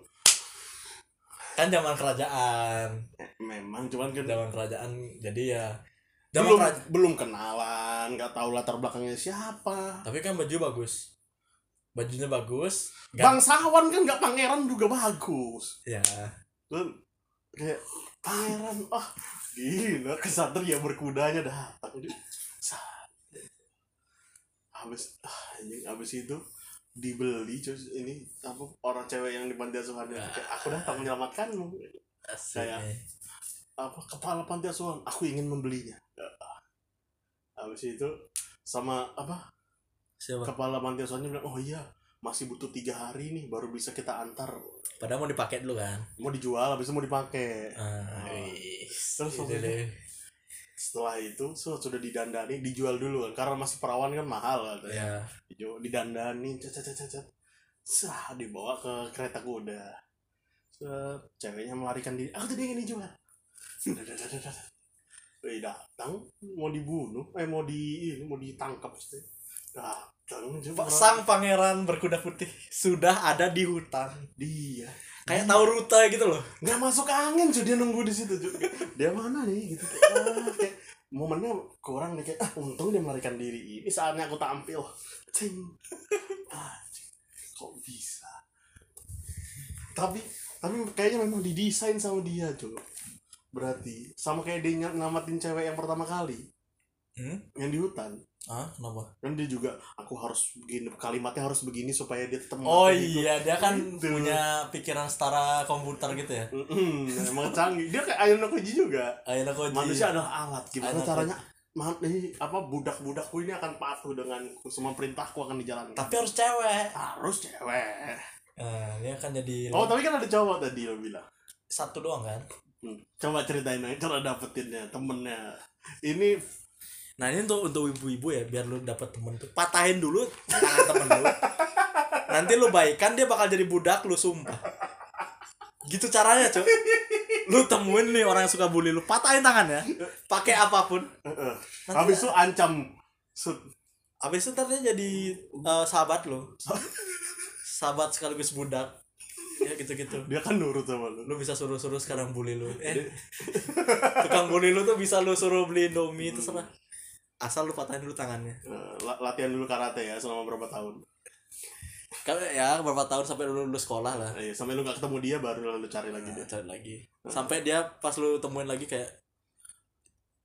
B: kan zaman kerajaan
A: memang cuman kan
B: zaman kerajaan jadi ya zaman
A: belum
B: kerajaan
A: belum kenalan nggak tahu latar belakangnya siapa
B: tapi kan baju bagus bajunya bagus Gan-
A: bangsawan kan nggak pangeran juga bagus
B: ya
A: Lu kayak pangeran ah gila kesatria berkudanya datang Jo. Sat. habis ah, anjing, habis itu dibeli terus ini apa orang cewek yang di panti asuhan itu, kayak, aku datang menyelamatkanmu
B: asik
A: Kayak-
B: nih.
A: apa kepala panti asuhan aku ingin membelinya Ya, ah. habis itu sama apa
B: siapa
A: kepala panti asuhannya bilang oh iya masih butuh tiga hari nih baru bisa kita antar
B: padahal mau dipakai dulu kan
A: mau dijual habis itu mau dipakai
B: Ah,
A: Oh.
B: wis.
A: Terus
B: Gitu
A: apa itu?
B: deh.
A: setelah itu so, sudah didandani dijual dulu kan karena masih perawan kan mahal katanya
B: ya
A: Dijual- didandani cet cet cet, cet cet sah dibawa ke kereta kuda Set, ceweknya melarikan diri aku tadi ingin dijual Dah, dah, dah, dah, dah. Wih, datang mau dibunuh eh mau di ini, mau ditangkap sih datang coba
B: Pak- sang pangeran berkuda putih sudah ada di hutan
A: dia
B: kayak tahu rute gitu loh
A: nggak masuk angin cuy dia nunggu di situ cuy dia mana nih gitu Ah, kayak momennya kurang deh kayak ah, untung dia melarikan diri ini saatnya aku tampil cing ah, cing. kok bisa tapi tapi kayaknya memang didesain sama dia cuy berarti sama kayak dia ny- nyelamatin cewek yang pertama kali
B: hmm?
A: yang di hutan
B: ah kenapa
A: kan dia juga aku harus begini kalimatnya harus begini supaya dia tetap
B: oh
A: mati.
B: iya dia kan
A: Gitu.
B: punya pikiran setara komputer gitu ya
A: Mm-mm, emang canggih dia kayak Ayano Koji juga
B: Ayo Koji
A: manusia adalah alat gimana
B: Alat.
A: caranya man, ini apa budak-budakku ini akan patuh denganku semua perintahku akan dijalankan
B: tapi harus cewek
A: harus cewek
B: nah, dia kan jadi
A: oh tapi kan ada cowok tadi lo bilang
B: satu doang kan
A: Hmm. coba ceritain aja cara dapetinnya temennya ini
B: nah ini untuk untuk ibu-ibu ya biar lu dapet temen tuh patahin dulu tangan temen lu nanti lu baikan dia bakal jadi budak lu sumpah gitu caranya cuy lu temuin nih orang yang suka bully lu patahin tangannya pakai apapun
A: eh, eh.
B: Nanti- ya.
A: habis itu ancam Sut.
B: Abis itu ntar dia jadi eh, sahabat lo Sahabat sekaligus budak Ya gitu-gitu
A: dia kan nurut sama lu
B: Lu bisa suruh-suruh sekarang bully lu eh, Tukang bully lu tuh bisa lu suruh beli Indomie Terserah Asal lu patahin dulu tangannya
A: Eh, la- latihan dulu karate ya selama berapa tahun
B: Kalau ya beberapa tahun sampai lu lulus sekolah lah
A: Eh, iya, sampai lu gak ketemu dia baru lu cari lagi
B: Nah,
A: dia
B: cari lagi Sampai dia pas lu temuin lagi kayak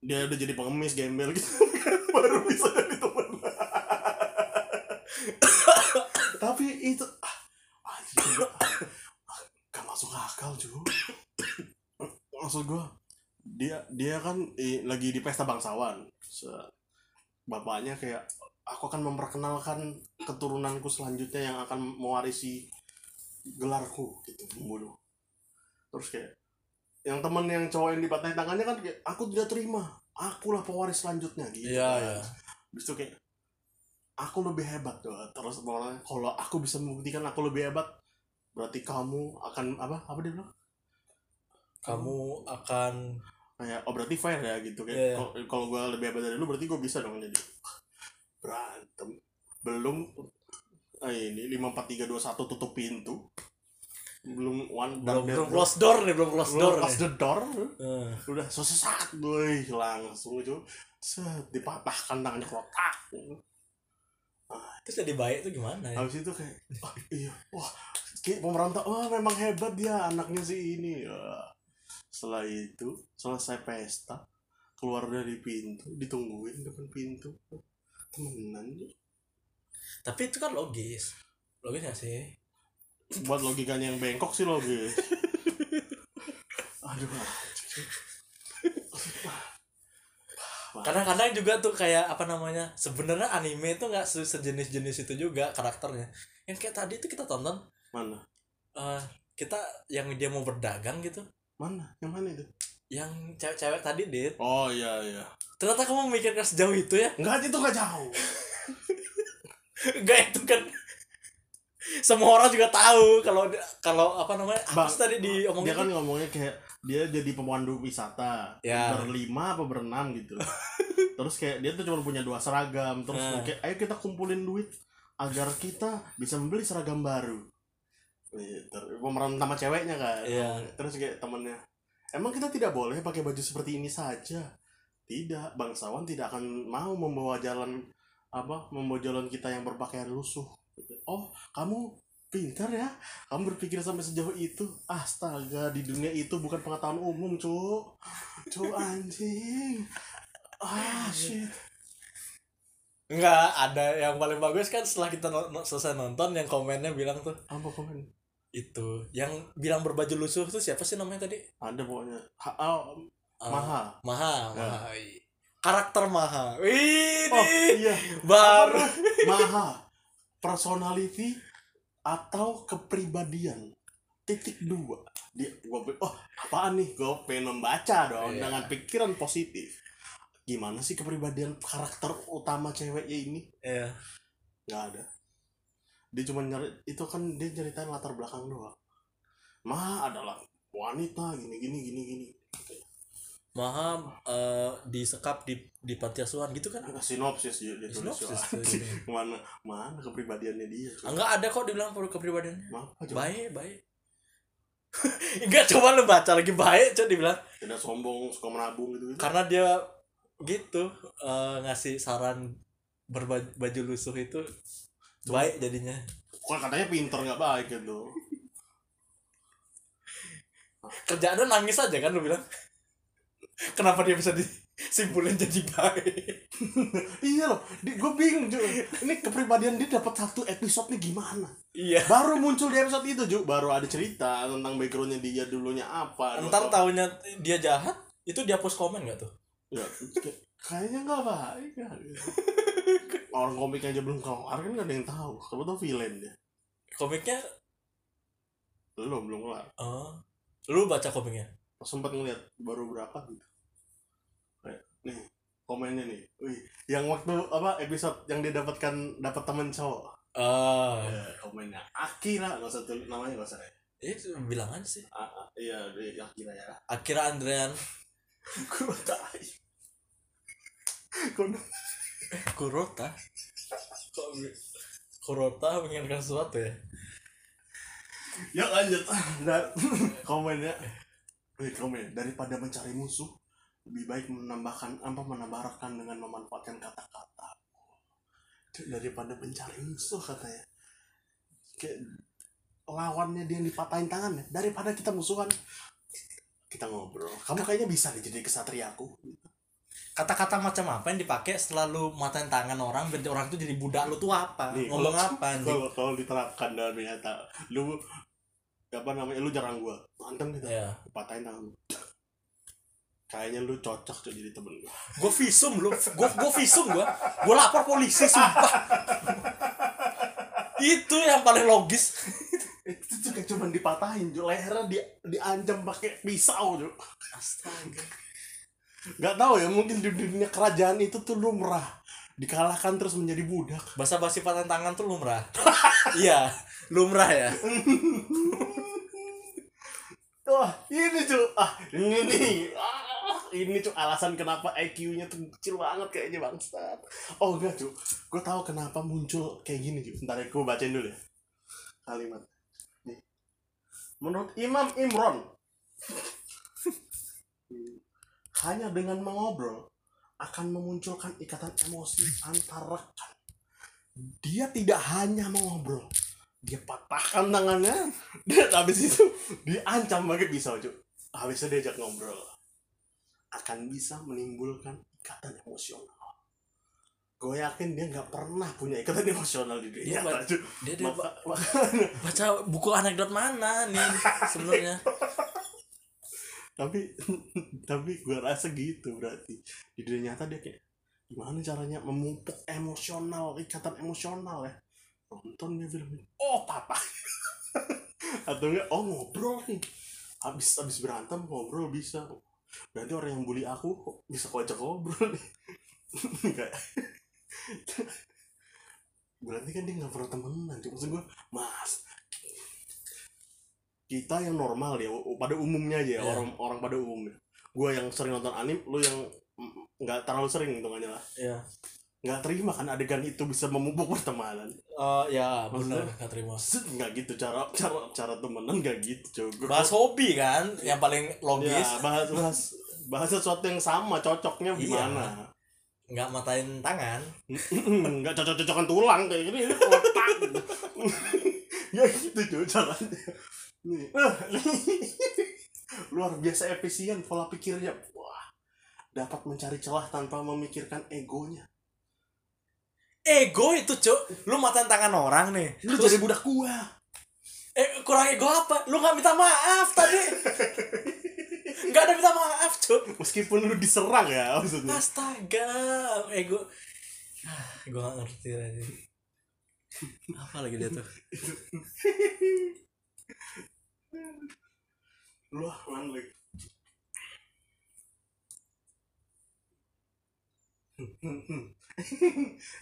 A: dia udah jadi pengemis gembel gitu baru bisa jadi temen tapi itu ah, anjing, gua- ah, gak masuk akal juga maksud gua dia dia kan eh, lagi di pesta bangsawan Se- bapaknya kayak aku akan memperkenalkan keturunanku selanjutnya yang akan mewarisi gelarku gitu bodoh terus kayak yang teman yang cowok yang dipatahin tangannya kan kayak aku tidak terima akulah pewaris selanjutnya gitu
B: Iya,
A: kan.
B: iya.
A: Habis itu kayak aku lebih hebat tuh terus orang kalau aku bisa membuktikan aku lebih hebat berarti kamu akan apa apa dia bilang
B: Kamu akan
A: kayak oh berarti fair ya gitu
B: Iya,
A: kayak
B: iya.
A: kalau kalau gue lebih hebat dari lu berarti gue bisa dong jadi berantem belum eh, ini lima empat tiga dua satu tutup pintu belum one
B: belum
A: dark-
B: belum close door nih, belum close
A: belum
B: door. ya.
A: close
B: nih.
A: the door
B: Eh,
A: udah sesat gue langsung itu set dipatahkan tangannya kotak
B: Terus jadi baik tuh gimana ya?
A: habis itu kayak wah iya wah kayak pemerintah wah memang hebat dia anaknya si ini Wah. setelah itu selesai pesta keluar dari pintu ditungguin depan pintu temenan
B: Tapi itu kan logis. Logis gak sih?
A: buat logikanya yang bengkok sih logis aduh anjing.
B: Karena kadang juga tuh kayak apa namanya? Sebenarnya anime itu nggak se- sejenis-jenis itu juga karakternya. Yang kayak tadi tuh kita tonton
A: mana
B: eh kita yang dia mau berdagang gitu,
A: mana yang mana itu
B: yang cewek-cewek tadi dit.
A: oh iya iya
B: Ternyata kamu memikirkan sejauh itu ya?
A: enggak itu enggak jauh
B: Enggak itu kan semua orang juga tahu kalau kalau apa namanya? Apa
A: Bang,
B: sih tadi diomongin? gitu.
A: dia kan ngomongnya kayak dia jadi pemandu wisata
B: Ya.
A: berlima apa berenam gitu terus kayak dia tuh cuma punya dua seragam terus
B: Nah.
A: kayak ayo kita kumpulin duit agar kita bisa membeli seragam baru Iya, ter- pemeran sama ceweknya kan
B: Iya.
A: terus kayak temennya emang kita tidak boleh pakai baju seperti ini saja tidak bangsawan tidak akan mau membawa jalan apa membawa jalan kita yang berpakaian lusuh oh kamu pintar ya kamu berpikir sampai sejauh itu astaga di dunia itu bukan pengetahuan umum cuk cuk anjing ah shit
B: Enggak, ada yang paling bagus kan setelah kita no- no- selesai nonton yang komennya bilang tuh
A: apa komen
B: itu yang bilang berbaju lusuh tuh siapa sih namanya tadi?
A: ada pokoknya ha oh,
B: Eh,
A: maha
B: Maha, Iya.
A: Ya.
B: Maha. Karakter Maha. Wih,
A: oh
B: nih,
A: iya
B: baru
A: maha personality atau kepribadian titik dua dia gua pe- oh apaan nih gua pengen membaca dong
B: Iya.
A: dengan pikiran positif gimana sih kepribadian karakter utama ceweknya ini
B: Iya.
A: nggak ada dia cuma nyari itu kan dia ceritain latar belakang doang ma adalah wanita gini gini gini gini
B: Maha eh, disekap di di panti asuhan gitu kan?
A: sinopsis dia, dia tulis
B: Sinopsis
A: Wah,
B: tuh
A: anjing.
B: jadinya.
A: mana mana kepribadiannya dia cuy.
B: Enggak ada kok dibilang perlu kepribadiannya.
A: Maaf, cuy.
B: Baik, baik. Enggak coba lu baca lagi baik, coba dibilang
A: tidak sombong suka menabung gitu gitu
B: karena dia gitu eh, ngasih saran berbaju baju lusuh itu baik jadinya
A: Kok katanya pinter nggak baik gitu
B: kerjaan lu nangis aja kan lu bilang kenapa dia bisa disimpulin jadi baik
A: iya loh gue bingung Ju. ini kepribadian dia dapat satu episode nih gimana
B: iya
A: baru muncul di episode itu Ju baru ada cerita tentang backgroundnya dia dulunya apa
B: ntar tahunya dia jahat itu dia post komen gak tuh
A: Ya, kayak- kayaknya nggak baik ya. Orang komik aja belum kelar kan nggak ada yang tahu. Kamu tahu villain dia?
B: komiknya
A: Belum belum kelar.
B: eh, lu baca komiknya
A: Sempat ngeliat baru berapa gitu. Kayak, nih komennya nih. Wih, yang waktu apa episode yang dia dapatkan dapat teman cowok.
B: ah
A: Eh, komennya Akira nggak usah tulis namanya nggak usah. ya.
B: itu bilangan Eh, sih
A: A- A- Iya, dia Akira ya.
B: akhirnya Andrean
A: Kurota. Kurota.
B: Kurota kok Kurota menginginkan sesuatu ya
A: ya lanjut dan komennya eh, komen daripada mencari musuh lebih baik menambahkan apa menambahkan dengan memanfaatkan kata-kata Cuk, daripada mencari musuh katanya kayak lawannya dia yang dipatahin tangannya daripada kita musuhan kita ngobrol kamu kayaknya bisa deh jadi kesatria aku
B: kata-kata macam apa yang dipakai selalu matain tangan orang biar orang itu jadi budak lu tuh apa
A: Nih,
B: ngomong
A: kalau-
B: apa anjing
A: kalau kalau diterapkan dalam nyata lu apa namanya lu jarang gua berantem gitu
B: ya
A: patahin tangan lu kayaknya lu cocok tuh jadi temen gua
B: gue visum lu gue gue visum gue gue lapor polisi sumpah itu yang paling logis
A: Eh, itu juga cuma dipatahin Ju. lehernya di diancam pakai pisau Ju.
B: astaga
A: nggak tahu ya mungkin di dunia kerajaan itu tuh lumrah dikalahkan terus menjadi budak
B: bahasa basi patahan tangan tuh lumrah iya lumrah ya
A: wah ini cu ah ini nih Ah, ini cu alasan kenapa IQ-nya tuh kecil banget kayaknya bangsat oh enggak cu gue tahu kenapa muncul kayak gini cu ntar gue bacain dulu ya kalimat nih menurut Imam Imron hanya dengan mengobrol akan memunculkan ikatan emosi antara rekan dia tidak hanya mengobrol dia patahkan tangannya dan habis itu diancam pakai pisau cuy habis itu diajak ngobrol akan bisa menimbulkan ikatan emosional gue yakin dia nggak pernah punya ikatan emosional di
B: Iya,
A: dunia nyata
B: Pak.
A: cuy
B: dia, dia
A: Maka- maka-
B: baca buku anekdot mana nih sebenarnya
A: tapi tapi gue rasa gitu berarti di dunia nyata dia kayak gimana caranya memupuk emosional ikatan emosional ya nonton dia film oh papa atau enggak oh ngobrol nih habis habis berantem ngobrol bisa berarti orang yang bully aku kok bisa kocok ngobrol nih Kayak- berarti kan dia nggak pernah temenan Cuma maksud gue mas kita yang normal ya u- pada umumnya aja ya,
B: Iya.
A: orang orang pada umumnya gue yang sering nonton anime lu yang mm, nggak terlalu sering hitungannya lah
B: ya
A: nggak terima kan adegan itu bisa memupuk pertemanan
B: Eh, ya
A: Maksudnya?
B: benar nggak terima
A: Set, nggak gitu cara cara cara temenan nggak gitu coba
B: bahas hobi kan yang paling
A: ya,
B: logis
A: bahas bahas bahas sesuatu yang sama cocoknya
B: Iya.
A: gimana
B: nggak matain tangan
A: nggak cocok cocokan tulang kayak gini ini otak ya gitu cuy caranya Nih. luar biasa efisien pola pikirnya wah dapat mencari celah tanpa memikirkan egonya
B: ego itu cuk lu matain tangan orang nih
A: lu
B: Terus,
A: jadi budak gua
B: eh kurang ego apa lu nggak minta maaf tadi nggak ada minta maaf cuk
A: meskipun lu diserang ya maksudnya
B: astaga ego ah, gue nggak ngerti lagi apa lagi dia tuh
A: lu ah, mana lagi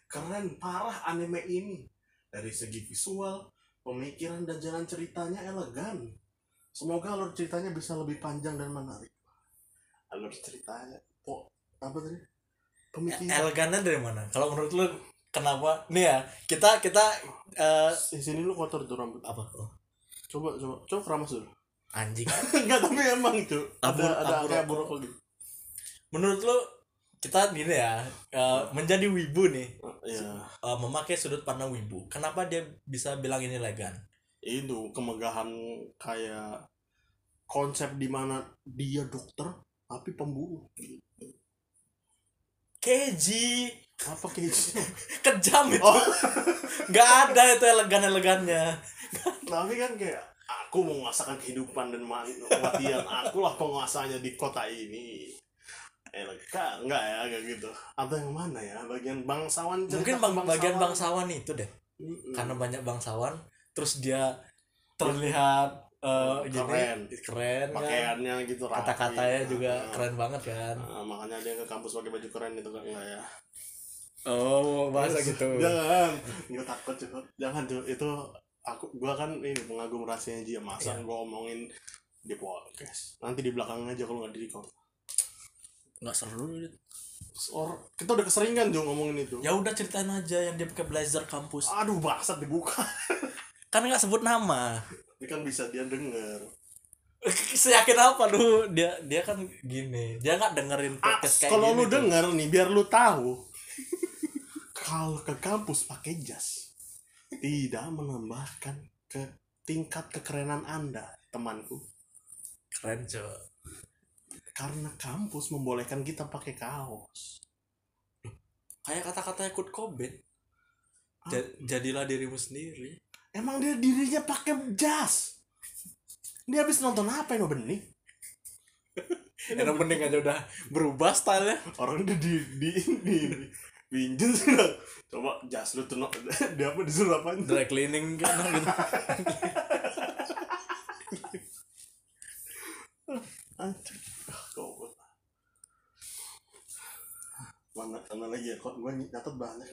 A: keren parah anime ini dari segi visual pemikiran dan jalan ceritanya elegan semoga alur ceritanya bisa lebih panjang dan menarik alur ceritanya po apa tadi pemikiran
B: Eh, elegannya dari mana kalau menurut lu kenapa nih ya kita kita eh
A: di sini lu kotor tuh rambut
B: apa Oh,
A: coba coba coba keramas dulu
B: anjing
A: enggak tapi emang tuh
B: Tabur-
A: ada ada
B: tabur
A: area
B: rokok.
A: buruk gitu
B: menurut lu kita gini ya eh, menjadi wibu nih
A: ya
B: eh, memakai sudut pandang wibu kenapa dia bisa bilang ini elegan
A: itu kemegahan kayak konsep di mana dia dokter tapi pembunuh
B: keji
A: apa kayak gitu
B: kejam itu
A: oh
B: nggak ada itu elegan elegannya
A: tapi kan kayak aku menguasakan kehidupan dan ma- kematian akulah penguasanya di kota ini elegan enggak ya kayak gitu atau yang mana ya bagian bangsawan
B: mungkin
A: cerita
B: bang,
A: bangsawan.
B: bagian bangsawan itu deh
A: Mm-mm.
B: karena banyak bangsawan terus dia terlihat eh, gini,
A: Keren.
B: keren kan
A: pakaiannya gitu rapi.
B: kata-katanya juga
A: Ah,
B: keren banget kan
A: ah, makanya dia ke kampus pakai baju keren itu kan enggak ya
B: oh
A: gitu. jangan nggak Iya, takut cuy jangan cuy itu aku gua kan ini pengagum rasanya dia masa
B: Iya.
A: gua omongin di podcast nanti di belakang aja kalau nggak di record
B: nggak seru
A: gitu.
B: Dit.
A: Or, kita udah keseringan cuy ngomongin itu
B: ya udah ceritain aja yang dia pakai blazer kampus
A: aduh bangsat dibuka
B: kan nggak sebut nama
A: ini kan bisa dia denger
B: seyakin apa lu dia dia kan gini dia nggak dengerin
A: Ah,
B: podcast kayak
A: kalau
B: gini
A: lu
B: tuh.
A: denger nih biar lu tahu kalau ke kampus pakai jas tidak menambahkan ke tingkat kekerenan anda temanku
B: keren cuy
A: karena kampus membolehkan kita pakai kaos
B: kayak kata-katanya Kurt Cobain Ja- jadilah dirimu sendiri
A: emang dia dirinya pakai jas dia habis nonton apa yang bening
B: Era bening aja udah berubah stylenya
A: orang udah di di di, di pinjel sudah coba jas lu tuh no- dia apa disuruh apa
B: dry cleaning kan gitu
A: mana mana lagi ya kok gue nyatet banyak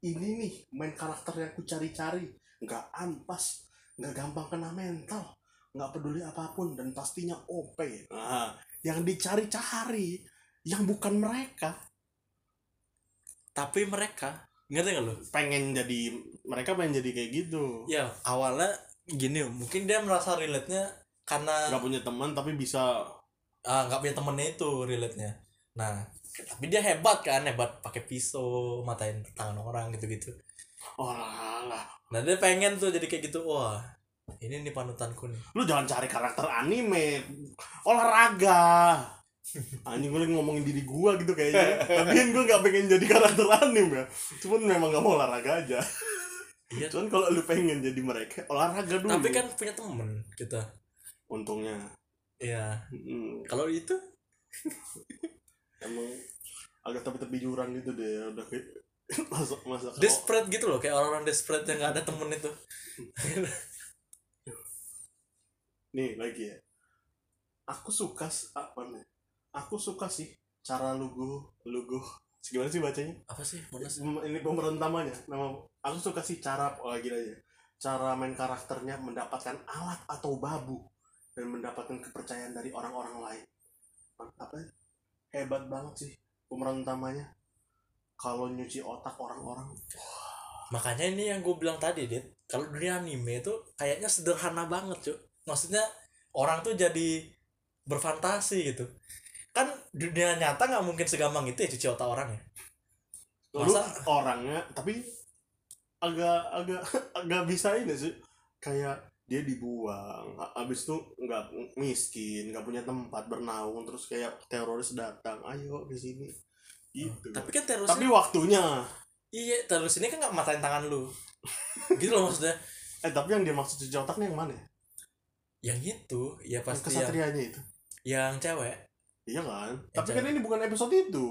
A: ini nih main karakter yang ku cari-cari nggak ampas nggak gampang kena mental nggak peduli apapun dan pastinya OP nah, yang dicari-cari yang bukan mereka
B: tapi mereka ngerti gak lo
A: pengen jadi mereka pengen jadi kayak gitu
B: ya awalnya gini mungkin dia merasa relate nya karena
A: nggak punya teman tapi bisa
B: ah, nggak punya temennya itu relate nya nah tapi dia hebat kan hebat pakai pisau matain tangan orang gitu gitu
A: oh lah, lah.
B: nah dia pengen tuh jadi kayak gitu wah ini nih panutanku nih
A: lu jangan cari karakter anime olahraga anjing gue lagi ngomongin diri gua gitu kayaknya tapi kan gue nggak pengen jadi karakter anime ya cuman memang gak mau olahraga aja
B: iya
A: cuman kalau lu pengen jadi mereka olahraga dulu
B: tapi kan punya temen kita
A: untungnya
B: Iya
A: Mm,
B: kalau itu
A: emang agak tepi-tepi jurang gitu deh udah kayak masuk masuk
B: desperate gitu loh kayak orang-orang desperate yang nggak ada temen itu
A: nih lagi ya aku suka s- apa nih aku suka sih cara lugu lugu gimana sih bacanya
B: apa sih bonus
A: Pem- ini pemeran utamanya nama aku suka sih cara oh, gini aja cara main karakternya mendapatkan alat atau babu dan mendapatkan kepercayaan dari orang-orang lain apa ya? hebat banget sih pemeran utamanya kalau nyuci otak orang-orang
B: makanya ini yang gue bilang tadi dit kalau dunia anime itu kayaknya sederhana banget cuy maksudnya orang tuh jadi berfantasi gitu kan dunia nyata nggak mungkin segampang itu ya cuci otak orang ya
A: lalu
B: Masa?
A: orangnya tapi agak agak agak bisa ini sih kayak dia dibuang abis itu nggak miskin nggak punya tempat bernaung terus kayak teroris datang ayo ke sini gitu
B: tapi kan teroris
A: tapi waktunya
B: iya teroris ini kan nggak matain tangan lu gitu loh maksudnya
A: eh tapi yang dia maksud cuci otaknya yang mana ya?
B: yang itu ya
A: yang
B: pasti yang,
A: kesatrianya itu
B: yang cewek
A: iya kan
B: Yang
A: tapi kan
B: cewek.
A: ini bukan episode itu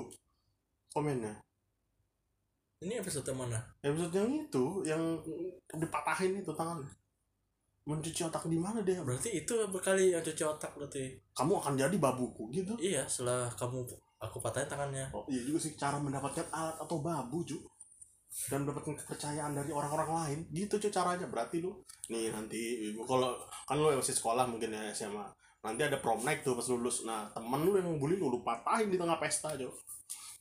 A: komennya
B: ini episode mana
A: episode yang itu yang dipatahin itu tangan mencuci otak di mana dia
B: berarti itu berkali yang cuci otak berarti
A: kamu akan jadi babuku gitu
B: iya setelah kamu aku patahin tangannya
A: oh iya juga sih cara mendapatkan alat atau babu ju dan mendapatkan kepercayaan dari orang-orang lain gitu cuy caranya berarti lu nih nanti ibu kalau kan lu masih sekolah mungkin ya SMA nanti ada prom night tuh pas lulus nah temen lu yang bully lu lu patahin di tengah pesta jo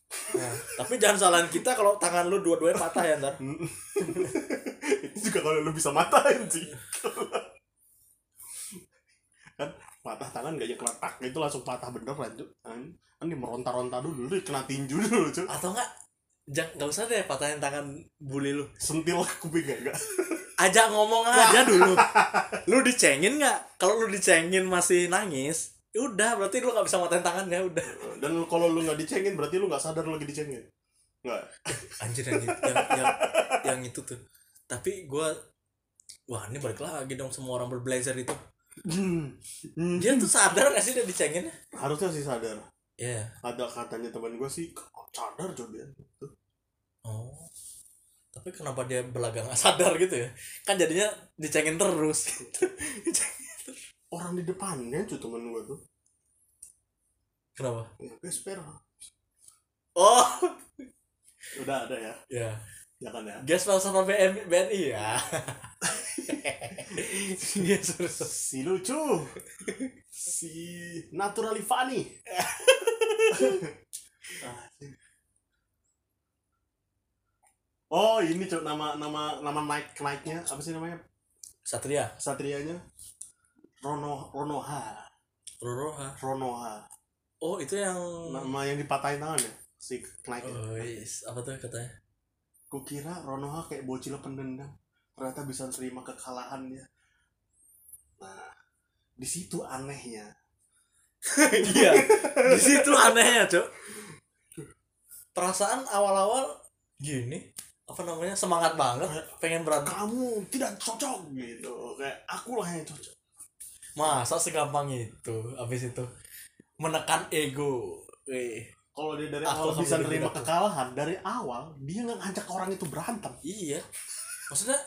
B: Nah, tapi jangan salahin kita kalau tangan lu dua-duanya patah ya ntar
A: itu juga kalau lu bisa matain sih kan patah tangan gak aja keletak itu langsung patah beneran tuh kan kan dia meronta-ronta dulu dia kena tinju dulu cuy
B: atau enggak jangan nggak usah deh patahin tangan bully lu
A: sentil kupingnya enggak
B: ajak ngomong aja dulu lu dicengin nggak kalau lu dicengin masih nangis ya udah berarti lu nggak bisa matain tangannya udah
A: dan lu- kalau lu nggak dicengin berarti lu nggak sadar lu lagi dicengin nggak
B: anjir yang itu yang, yang, yang itu tuh tapi gua wah ini balik lagi dong semua orang berblazer itu dia tuh sadar nggak sih dia dicengin
A: Hmm. harusnya sih sadar
B: ya
A: ada katanya teman gue sih "Kok sadar coba dia
B: oh tapi kenapa dia belaga nggak sadar gitu ya kan jadinya dicengin terus gitu.
A: orang di depannya cuy teman gue tuh
B: kenapa
A: ya gesper
B: oh
A: udah ada ya
B: ya
A: jangan ya
B: Gas sama BM, BNI ya. Iya, Gas terus.
A: si lucu si naturally funny Ah, sih. oh ini cok nama nama nama naik naiknya apa sih namanya
B: Satria,
A: satrianya Rono Ronoha
B: Roroha.
A: Ronoha
B: Oh, itu yang
A: nama yang dipatahin tangan ya si naiknya
B: Oh, yes. apa tuh katanya?
A: Kukira Ronoha kayak bocil pendendam. Ternyata bisa terima kekalahan dia. Nah, di situ anehnya
B: iya di situ anehnya cok perasaan awal-awal gini apa namanya semangat banget pengen berantem
A: kamu tidak cocok gitu kayak aku lah yang cocok
B: masa segampang itu abis itu menekan ego Wih.
A: kalau dia dari
B: Aku
A: awal
B: sama
A: bisa
B: dia
A: nerima
B: beda.
A: kekalahan dari awal dia nggak ngajak orang itu berantem
B: iya maksudnya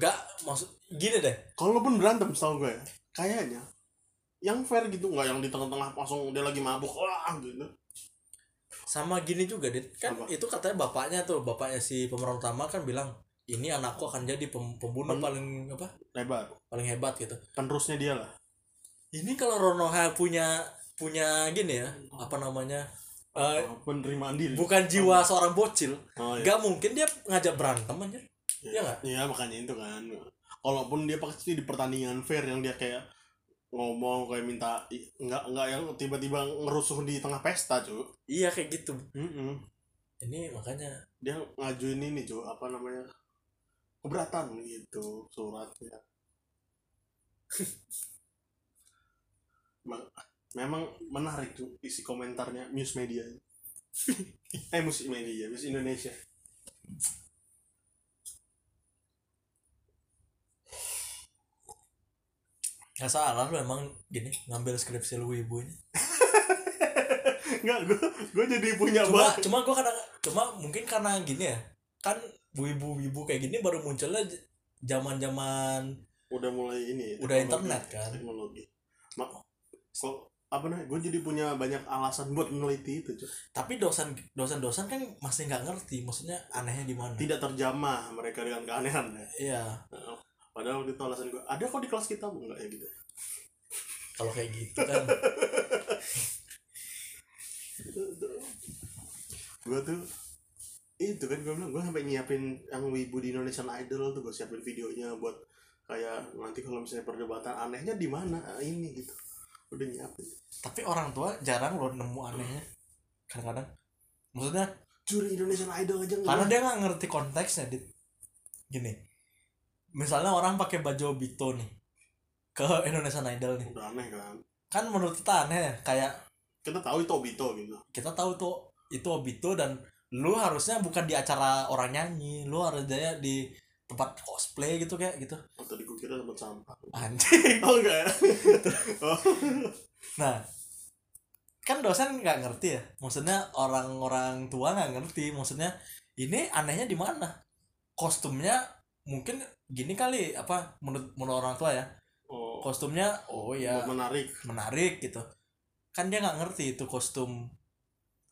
B: nggak maksud gini deh
A: kalaupun berantem setahu gue kayaknya yang fair gitu nggak yang di tengah-tengah langsung dia lagi mabuk wah gitu
B: sama gini juga Dit. kan
A: Apa?
B: itu katanya bapaknya tuh bapaknya si pemeran utama kan bilang ini anakku akan jadi pem- pembunuh
A: Pen-
B: paling apa
A: lebar
B: paling hebat gitu
A: penerusnya dia lah
B: ini kalau Ronoha punya punya gini ya apa namanya eh,
A: Oh, penerimaan diri
B: bukan jiwa seorang bocil
A: oh, iya.
B: nggak mungkin dia ngajak berantem anjir iya nggak?
A: Iya, makanya itu kan kalaupun dia pasti di pertandingan fair yang dia kayak ngomong kayak minta i- nggak nggak yang tiba-tiba ngerusuh di tengah pesta cuy
B: iya kayak gitu ini makanya
A: dia ngajuin ini cuy apa namanya keberatan gitu suratnya Emang- memang menarik tuh isi komentarnya news media eh musik media Muse Indonesia
B: nggak salah lu emang gini ngambil skripsi lu ibu ini
A: nggak gue gue jadi punya
B: cuma
A: banget
B: cuma gua kadang cuma mungkin karena gini ya kan ibu ibu kayak gini baru munculnya j- zaman-zaman
A: udah mulai ini
B: Udah
A: teknologi.
B: internet kan?
A: teknologi mak so, apa namanya gue jadi punya banyak alasan buat meneliti itu Cuk.
B: tapi dosen dosen dosen kan masih nggak ngerti maksudnya anehnya di mana
A: tidak terjamah mereka dengan keanehan ya.
B: iya
A: padahal waktu itu alasan gue ada kok di kelas kita Bu?" enggak ya gitu
B: kalau kayak gitu kan
A: gue tuh itu kan gue bilang gue sampai nyiapin yang wibu di Indonesian Idol tuh gue siapin videonya buat kayak nanti kalau misalnya perdebatan anehnya di mana ah, ini gitu udah nyiapin
B: tapi orang tua jarang loh nemu anehnya kadang-kadang maksudnya
A: juri Indonesian Idol aja
B: karena
A: enggak
B: dia nggak ngerti konteksnya dit gini misalnya orang pakai baju obito nih ke Indonesian Idol nih
A: udah aneh kan
B: kan menurut kita aneh ya, kayak
A: kita tahu itu Obito gitu
B: kita tahu tuh itu obito dan lu harusnya bukan di acara orang nyanyi lu harusnya di tempat cosplay gitu kayak gitu
A: Oh, tadi gue kira tempat sampah.
B: anjing
A: Oh, enggak ya? oh,
B: nah kan dosen nggak ngerti ya maksudnya orang-orang tua nggak ngerti maksudnya ini anehnya di mana kostumnya mungkin gini kali apa menurut menurut orang tua ya
A: oh.
B: kostumnya oh ya
A: Buat menarik
B: menarik gitu kan dia nggak ngerti itu kostum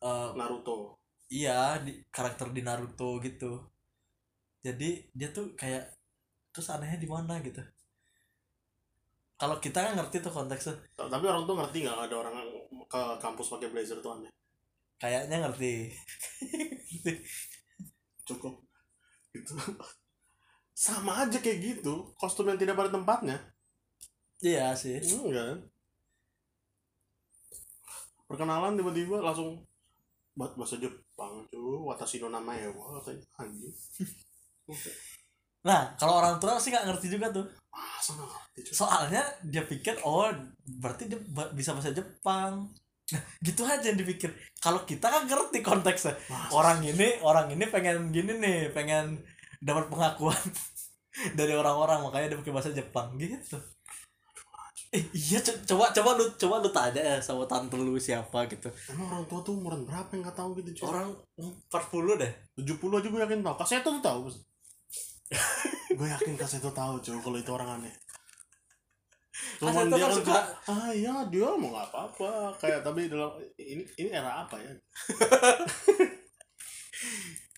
B: eh,
A: Naruto.
B: iya di, karakter di Naruto gitu jadi dia tuh kayak terus anehnya di mana gitu kalau kita kan ngerti tuh konteksnya
A: Ta- Tapi orang tuh ngerti nggak ada orang ke kampus pakai blazer tuh aneh.
B: kayaknya ngerti
A: Cukup. Gitu. Sama aja kayak gitu, kostum yang tidak pada tempatnya.
B: iya sih
A: Enggak. kan? Perkenalan tiba-tiba langsung buat bahasa Jepang tuh, watashi no nama ya, wah katanya anjing.
B: nah kalau orang tua sih nggak ngerti juga tuh
A: Masa nggak ngerti, cuy?
B: soalnya dia pikir oh berarti dia ba- bisa bahasa Jepang nah gitu aja yang dipikir kalau kita kan ngerti konteksnya
A: Masa?
B: orang ini orang ini pengen gini nih pengen dapat pengakuan dari orang-orang makanya dia pakai bahasa Jepang gitu eh, iya co- coba coba lu coba lu tanya ya sama tante lu siapa gitu
A: Emang orang tua tuh umuran berapa yang nggak tahu gitu cuy?
B: orang 40 deh
A: 70 aja gue yakin tahu. Kaseto tuh tahu. Mas. gue yakin Kaseto tahu, cuy, kalau itu orang aneh. Cuman
B: Kaseto
A: dia
B: kan
A: kan
B: suka-
A: suka, ah iya dia mau nggak apa-apa kayak tapi dalam ini ini era apa ya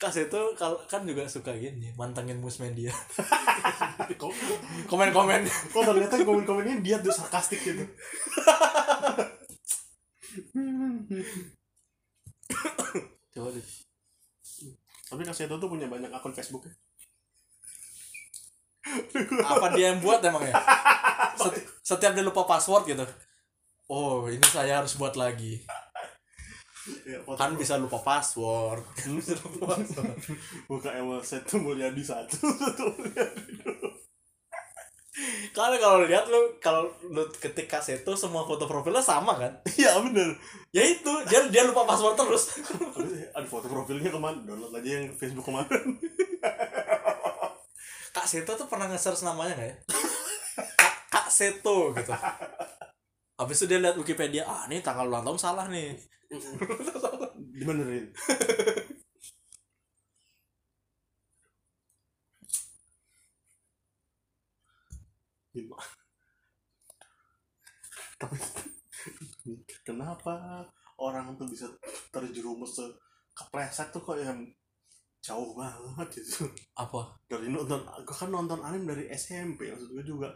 B: kas itu kal- kan juga suka gini mantengin musmen dia
A: kok
B: komen-komen
A: kok ternyata komen-komennya dia tuh sarkastik gitu
B: coba deh
A: tapi Kaseto tuh punya banyak akun Facebook ya
B: apa dia yang buat emang ya Seti- setiap dia lupa password gitu oh ini saya harus buat lagi
A: Ya, foto-
B: kan bisa lupa password Kan bisa lupa password
A: buka emang Seto Mulyadi satu Seto Mulyadi dua
B: Karena kalau lihat lu kalau lu ketik Kaseto semua foto profilnya sama kan?
A: Iya bener
B: Ya itu, dia dia lupa password terus.
A: Aduh foto profilnya kemana Download aja yang Facebook kemarin
B: Kak Seto tuh pernah nge-search namanya nggak ya? Kak, Kak Seto gitu. Habis itu dia lihat Wikipedia, ah ini tanggal ulang tahun salah nih.
A: Dibenerin Gila. Tapi kenapa orang tuh bisa terjerumus ke kepleset tuh kok yang jauh banget gitu
B: Apa?
A: dari nonton gue kan nonton anime dari SMP maksud gue juga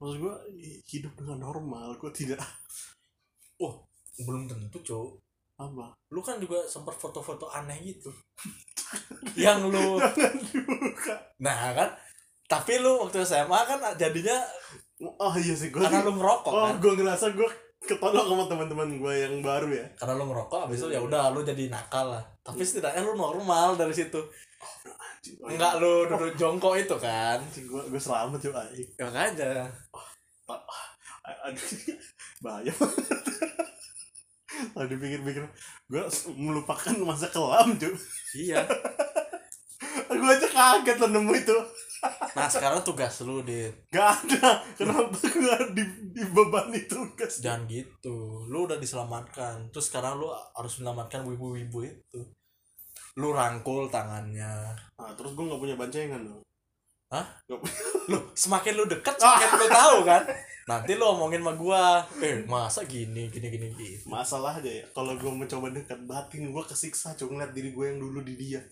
A: maksud gue hidup dengan normal gue tidak
B: Belum tentu, Cok.
A: apa
B: Lu kan juga sempat foto-foto aneh gitu. yang lu Nah, kan tapi lu waktu SMA kan jadinya
A: oh iya sih gue
B: karena lu ngerokok
A: oh
B: kan.
A: gue ngerasa gue ketolong sama teman-teman gue yang baru ya
B: Karena lu ngerokok habis itu ya udah lu jadi nakal lah. Tapi setidaknya lu normal dari situ. Enggak lu duduk jongkok itu kan.
A: gue gue selamat yuk ay
B: Ya makanya.
A: aduh bahaya kalau dipikir-pikir gue melupakan masa kelam cuy
B: Iya.
A: gue aja kaget loh nemu itu
B: Nah sekarang tugas lu Dit
A: gak ada kenapa gue di, dibebani tugas
B: Jangan gitu Lu udah diselamatkan Terus sekarang lu harus menyelamatkan wibu-wibu itu Lu rangkul tangannya
A: nah, terus gue gak punya bancengan loh
B: Lu semakin lu deket semakin lu tahu kan Nanti lu omongin sama gua Eh masa gini gini gini gitu
A: masalah aja ya kalau gue mencoba dekat batin gue kesiksa cuma ngeliat diri gue yang dulu di dia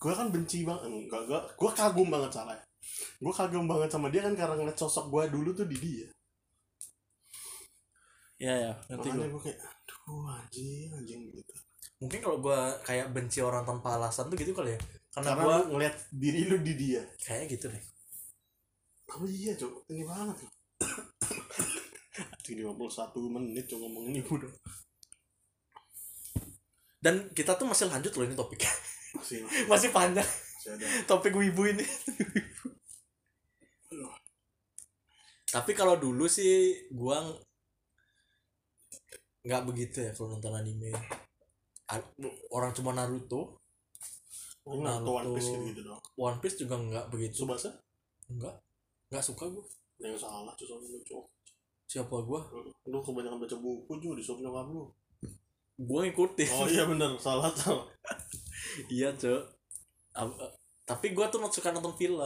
A: gue kan benci banget enggak gue gue kagum banget salah gue kagum banget sama dia kan karena ngeliat sosok gue dulu tuh di dia
B: Iya ya
A: makanya gue kayak aduh anjing anjing gitu
B: Mungkin kalau gua kayak benci orang tanpa alasan tuh gitu kali ya Karena,
A: karena
B: gua
A: lu ngeliat diri lu di dia
B: kayak gitu deh
A: oh iya cok ini banget loh Aduh, 51 menit cok ngomong ini udah
B: Dan kita tuh masih lanjut loh ini topiknya
A: masih
B: Masih panjang
A: masih ada
B: topik wibu ini tapi kalau dulu sih gua ng- nggak begitu ya kalau nonton anime A- orang cuma Naruto
A: Oh, nah, One
B: Naruto.
A: Piece gitu gitu dong
B: One Piece juga nggak begitu
A: Subasa
B: nggak nggak suka gua
A: yang salah cok sama lu cok
B: siapa gua
A: lu kebanyakan baca buku juga disuruh nyokap lu
B: gua ngikutin
A: oh iya bener salah salah
B: iya cok Ab- eh, tapi gua tuh suka nonton film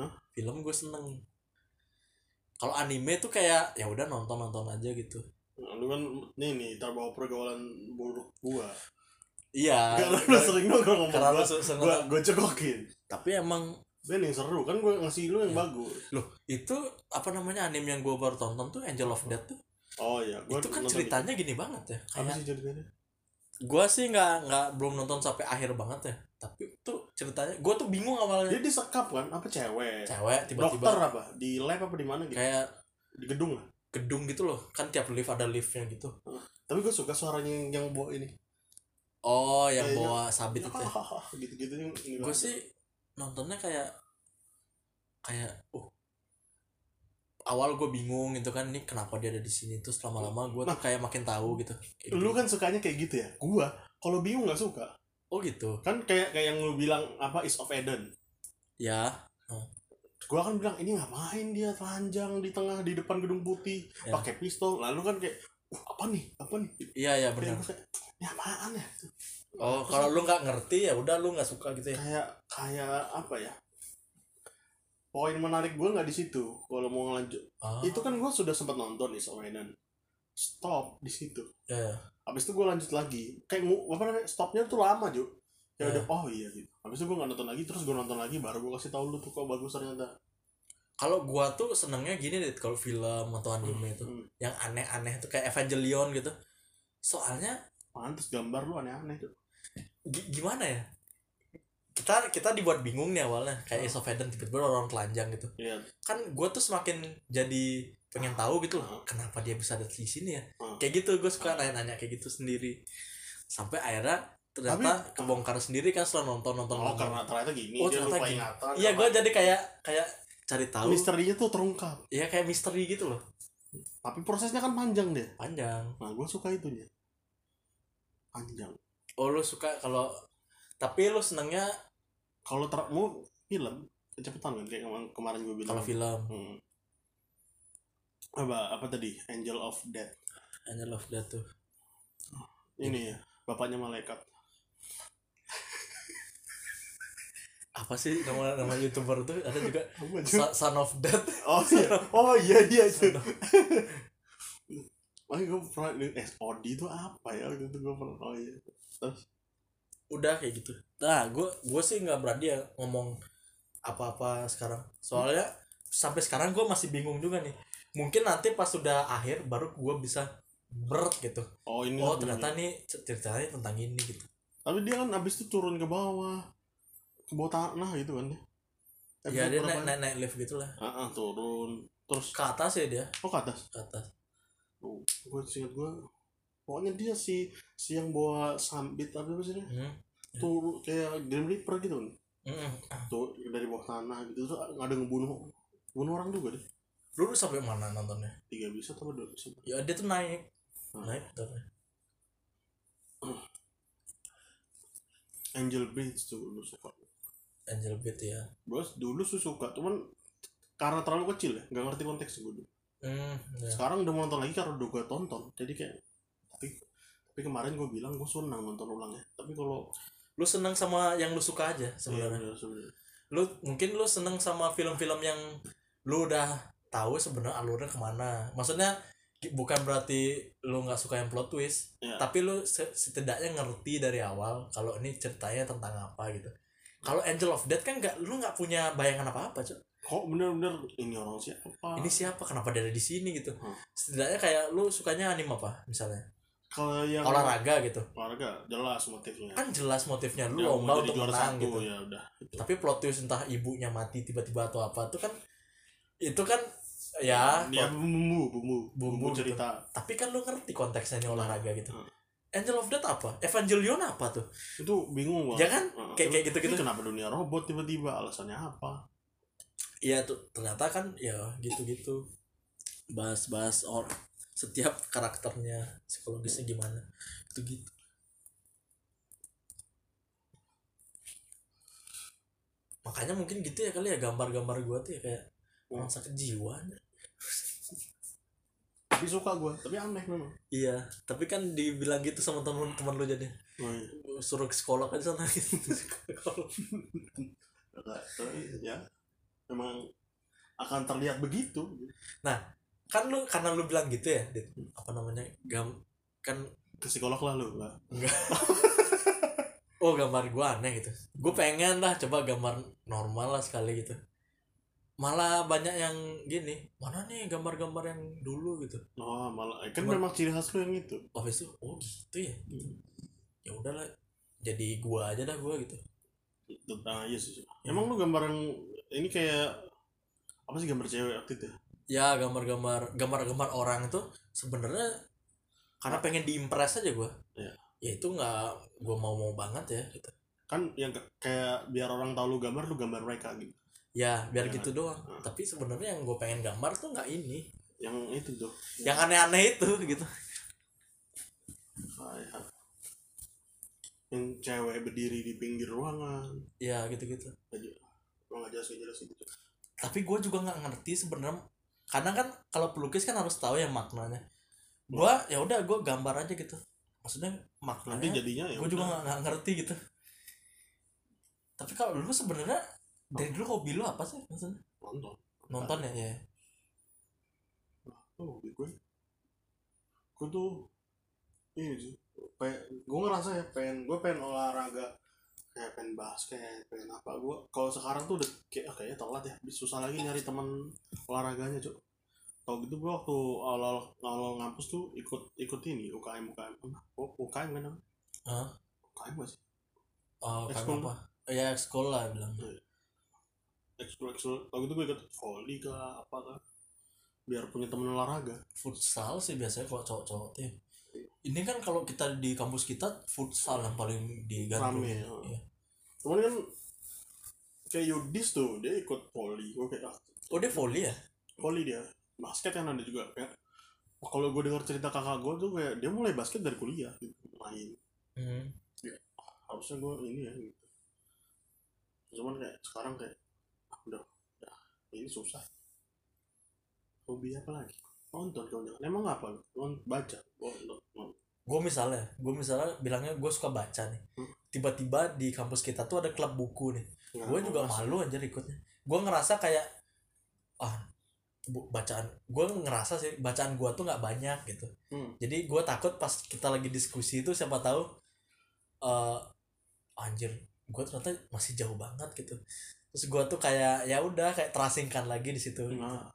A: Hah?
B: film gue seneng kalau anime tuh kayak ya udah nonton nonton aja gitu
A: lu kan nih nih terbawa pergaulan buruk gua
B: iya
A: karena lu sering nongkrong sama
B: karena lu
A: gua
B: se- seneng
A: gua gua cekokin
B: tapi emang
A: Ben yang seru kan gua ngasih lu yang
B: Ya.
A: bagus
B: loh itu apa namanya anime yang gue baru tonton tuh Angel of Death tuh
A: oh iya gua
B: itu kan
A: nonton
B: ceritanya gini banget ya
A: itu. apa
B: kayak
A: sih ceritanya
B: gue sih nggak nggak belum nonton sampai akhir banget ya tapi tuh ceritanya gue tuh bingung
A: dia
B: awalnya
A: disekap kan apa cewek
B: cewek
A: dokter
B: tiba-tiba
A: apa di lab apa di mana gitu
B: kayak
A: di gedung lah
B: gedung gitu loh kan tiap lift ada liftnya gitu
A: tapi gua suka suaranya yang yang bawa ini
B: oh yang
A: Kayaknya-
B: bawa sabit itu ya.
A: gitu gitu yang ini
B: gue
A: banget.
B: sih nontonnya kayak kayak uh awal gue bingung gitu kan ini kenapa dia ada di sini terus lama-lama gue tuh kayak makin tahu gitu Kayak gitu.
A: Nah. lu kan sukanya kayak gitu ya gua kalau bingung nggak suka
B: oh gitu
A: kan kayak kayak yang lu bilang apa is of Eden
B: ya
A: gua kan bilang ini ngapain dia telanjang di tengah di depan gedung putih
B: Ya.
A: pakai pistol lalu kan kayak uh, apa nih apa nih Gitu.
B: iya iya
A: kayak
B: benar
A: gua kayak, ini apaan ya
B: Oh, kalau lu nggak ngerti ya udah lu nggak suka gitu ya.
A: kayak kayak apa ya poin menarik gua nggak di situ kalau mau lanjut
B: Ah,
A: itu kan gua sudah sempat nonton Is of Eden stop di situ
B: ya, ya.
A: habis itu gua lanjut lagi kayak ngu- apa namanya stopnya tuh lama jo ya
B: Ya.
A: udah oh iya gitu habis itu gua nggak nonton lagi terus gua nonton lagi baru gua kasih tahu lu tuh kok bagus ternyata
B: Kalau gua tuh senengnya gini deh kalau film atau anime itu
A: Hmm.
B: yang aneh-aneh tuh kayak Evangelion gitu. Soalnya
A: pantes gambar lu aneh-aneh tuh
B: gi- gimana ya? Kita kita dibuat bingung nih awalnya kayak Ace of Eden tiba-tiba orang telanjang gitu.
A: iya
B: Kan gua tuh semakin jadi pengen tahu gitu loh kenapa dia bisa ada di sini ya.
A: Hmm.
B: Kayak gitu gua suka nanya-nanya kayak gitu sendiri. Sampai akhirnya ternyata kebongkar sendiri kan setelah nonton nonton
A: Oh,
B: nonton.
A: karena ternyata gini,
B: oh
A: dia
B: ternyata
A: lupa
B: gini.
A: ingatan.
B: iya gue jadi kayak kayak cari tahu
A: misterinya tuh terungkap.
B: iya kayak misteri gitu loh
A: Tapi prosesnya kan panjang deh.
B: panjang
A: Nah, gue suka itunya. Panjang.
B: oh lu suka kalau tapi lu senengnya
A: Kalau ter mau film kecepatan kan kayak kemar- kemarin gue bilang.
B: kalau film
A: Hmm. Apa apa tadi? Angel of Death.
B: hanya love that tuh
A: Ini ya, bapaknya malaikat.
B: apa sih nama nama youtuber tuh ada juga
A: Apa aja?
B: Sa- son of death
A: Oh iya, oh iya dia itu.
B: Son of-
A: Makanya gue pernah eh SOD itu apa ya? Waktu itu gue pernah oh iya.
B: udah kayak gitu nah gue gue sih nggak berani ya ngomong apa-apa sekarang soalnya sampai sekarang gue masih bingung juga nih mungkin nanti pas sudah akhir baru gue bisa berat gitu
A: Oh ini.
B: oh
A: lagunya.
B: ternyata nih ceritanya tentang ini gitu
A: Tapi dia kan abis itu turun ke bawah, ke bawah tanah gitu kan?
B: ya
A: Episode
B: dia
A: berapa
B: naik naik naik lift gitu lah
A: Ah, ah, turun. Terus
B: ke atas ya dia
A: oh ke atas.
B: ke atas
A: Oh, gue singkat gue. Pokoknya dia si si yang bawa sambit apa maksudnya?
B: hmm.
A: Turun kayak Grim Reaper gitu kan?
B: Mm-mm.
A: Tuh dari bawah tanah gitu terus ada ngebunuh bunuh orang juga deh.
B: lu udah sampai mana nontonnya
A: Tiga bisa atau dua bisa?
B: ya dia tuh naik
A: Hmm.
B: naik bentar.
A: Angel Beats tuh lu suka.
B: Angel Beat ya
A: Gue dulu sih suka, cuman karena terlalu kecil ya, nggak ngerti konteks gue dulu.
B: hmm, ya.
A: Sekarang udah mau nonton lagi karena udah gue tonton, jadi kayak tapi tapi kemarin gue bilang gue senang nonton ulangnya. Tapi kalau
B: lu seneng sama yang lu suka aja sebenarnya
A: Iya, bener, sebenarnya.
B: lu mungkin lu seneng sama film-film yang lu udah tahu sebenarnya alurnya kemana maksudnya ki- bukan berarti lu nggak suka yang plot twist
A: Iya.
B: tapi lu se- setidaknya ngerti dari awal kalau ini ceritanya tentang apa gitu kalau Angel of Death kan nggak lu nggak punya bayangan apa apa cuy
A: kok bener-bener ini orang siapa?
B: ini siapa kenapa dia ada di sini gitu
A: Hmm.
B: setidaknya kayak lu sukanya anime apa misalnya
A: kalau yang
B: olahraga gitu
A: olahraga jelas motifnya.
B: kan jelas motifnya lu
A: Dia mau
B: lomba
A: jadi
B: untuk
A: juara Ya,
B: menang
A: satu,
B: gitu
A: ya udah.
B: tapi plot twist entah ibunya mati tiba-tiba atau apa itu kan itu kan ya
A: Dia
B: plot-
A: bumbu, bumbu,
B: Bumbu
A: bumbu,
B: gitu.
A: cerita.
B: tapi kan lu ngerti konteksnya ini olahraga gitu
A: Hmm.
B: Angel of Death apa Evangelion apa tuh
A: Itu bingung banget.
B: ya kan
A: Heeh.
B: kayak kayak
A: Ini
B: gitu-gitu
A: kenapa dunia robot tiba-tiba alasannya apa?
B: Iya tuh ternyata kan ya gitu-gitu bahas-bahas or setiap karakternya psikologisnya gimana gitu gitu makanya mungkin gitu ya kali ya gambar-gambar gua tuh ya kayak orang sakit jiwa
A: Tapi suka gue, tapi aneh memang.
B: iya tapi kan dibilang gitu sama teman-teman lu jadi
A: Oh, iya.
B: suruh ke sekolah kan sana gitu Sekolah.
A: Agak- eh, ya memang akan terlihat begitu
B: kan lu karena lu bilang gitu ya Dit, apa namanya gam kan
A: ke psikolog lah lu lah
B: oh gambar gue aneh gitu gue pengen lah coba gambar normal lah sekali gitu malah banyak yang gini mana nih gambar-gambar yang dulu gitu
A: oh malah eh, kan
B: Cuman-
A: memang ciri khas lu yang itu
B: habis itu oh gitu ya
A: Hmm.
B: ya udahlah jadi gua aja dah gua gitu
A: tentang iya sih emang lu gambar yang ini kayak apa sih gambar cewek waktu itu ya?
B: ya gambar-gambar gambar-gambar orang tuh sebenarnya karena pengen diimpress aja gua
A: Iya.
B: ya itu nggak gua mau mau banget ya gitu
A: kan yang ke- kayak biar orang tahu lu gambar lu gambar mereka gitu
B: ya biar
A: Iya.
B: gitu doang
A: Hmm.
B: tapi sebenarnya yang gue pengen gambar tuh nggak ini
A: yang itu tuh
B: yang aneh-aneh itu gitu
A: Ah, ya. yang cewek berdiri di pinggir ruangan
B: ya gitu-gitu
A: lu nggak jelas nggak jelas gitu
B: tapi gue juga nggak ngerti sebenarnya karena kan kalau pelukis kan harus tahu ya maknanya gue ya udah gue gambar aja gitu maksudnya
A: nanti
B: maknanya
A: jadinya ya
B: gue juga nggak nggak ngerti gitu tapi kalau lu sebenarnya dari dulu hobi lu apa sih maksudnya
A: nonton
B: nonton ya, ya.
A: Oh, hobi gue gue tuh iya, ini sih pengen, gue ngerasa ya pengen gue pengen olahraga kayak pengen basket pengen apa gue kalau sekarang tuh udah kayak ah, kayaknya telat ya Habis susah lagi nyari teman olahraganya cok kalau gitu gue waktu awal awal ngampus tuh ikut ikut ini UKM UKM oh, UKM kan namanya?
B: Hah?
A: UKM gak sih
B: oh
A: Ekskul.
B: karena apa ya ekskul lah bilang
A: ekskul ekskul kalau gitu gue ikut volley kah apa kah biar punya teman olahraga
B: futsal sih biasanya kalau cowok-cowok tuh ya. ini kan kalau kita di kampus kita futsal yang paling digandrungi
A: Rame,
B: Iya.
A: cuman kan kayak Yudis tuh dia ikut poli gue kayak ah,
B: oh dia volley ya
A: poli dia basket kan ada juga kayak kalau gue dengar cerita kakak gue tuh kayak dia mulai basket dari kuliah gitu, main harusnya gue ini ya gitu. cuman kayak sekarang kayak ah, udah udah, ini susah hobi apa lagi nonton kau jangan emang apa lu Nont- baca Oh, nonton
B: gue misalnya gue misalnya bilangnya gue suka baca nih
A: Hmm.
B: tiba-tiba di kampus kita tuh ada klub buku nih
A: Nggak
B: gue
A: mau
B: juga
A: masuk.
B: malu anjir ikutnya gue ngerasa kayak ah bu- bacaan gue ngerasa sih bacaan gue tuh nggak banyak gitu
A: Hmm.
B: jadi gue takut pas kita lagi diskusi itu siapa tahu eh anjir gue ternyata masih jauh banget gitu terus gue tuh kayak ya udah kayak terasingkan lagi di situ
A: Nah.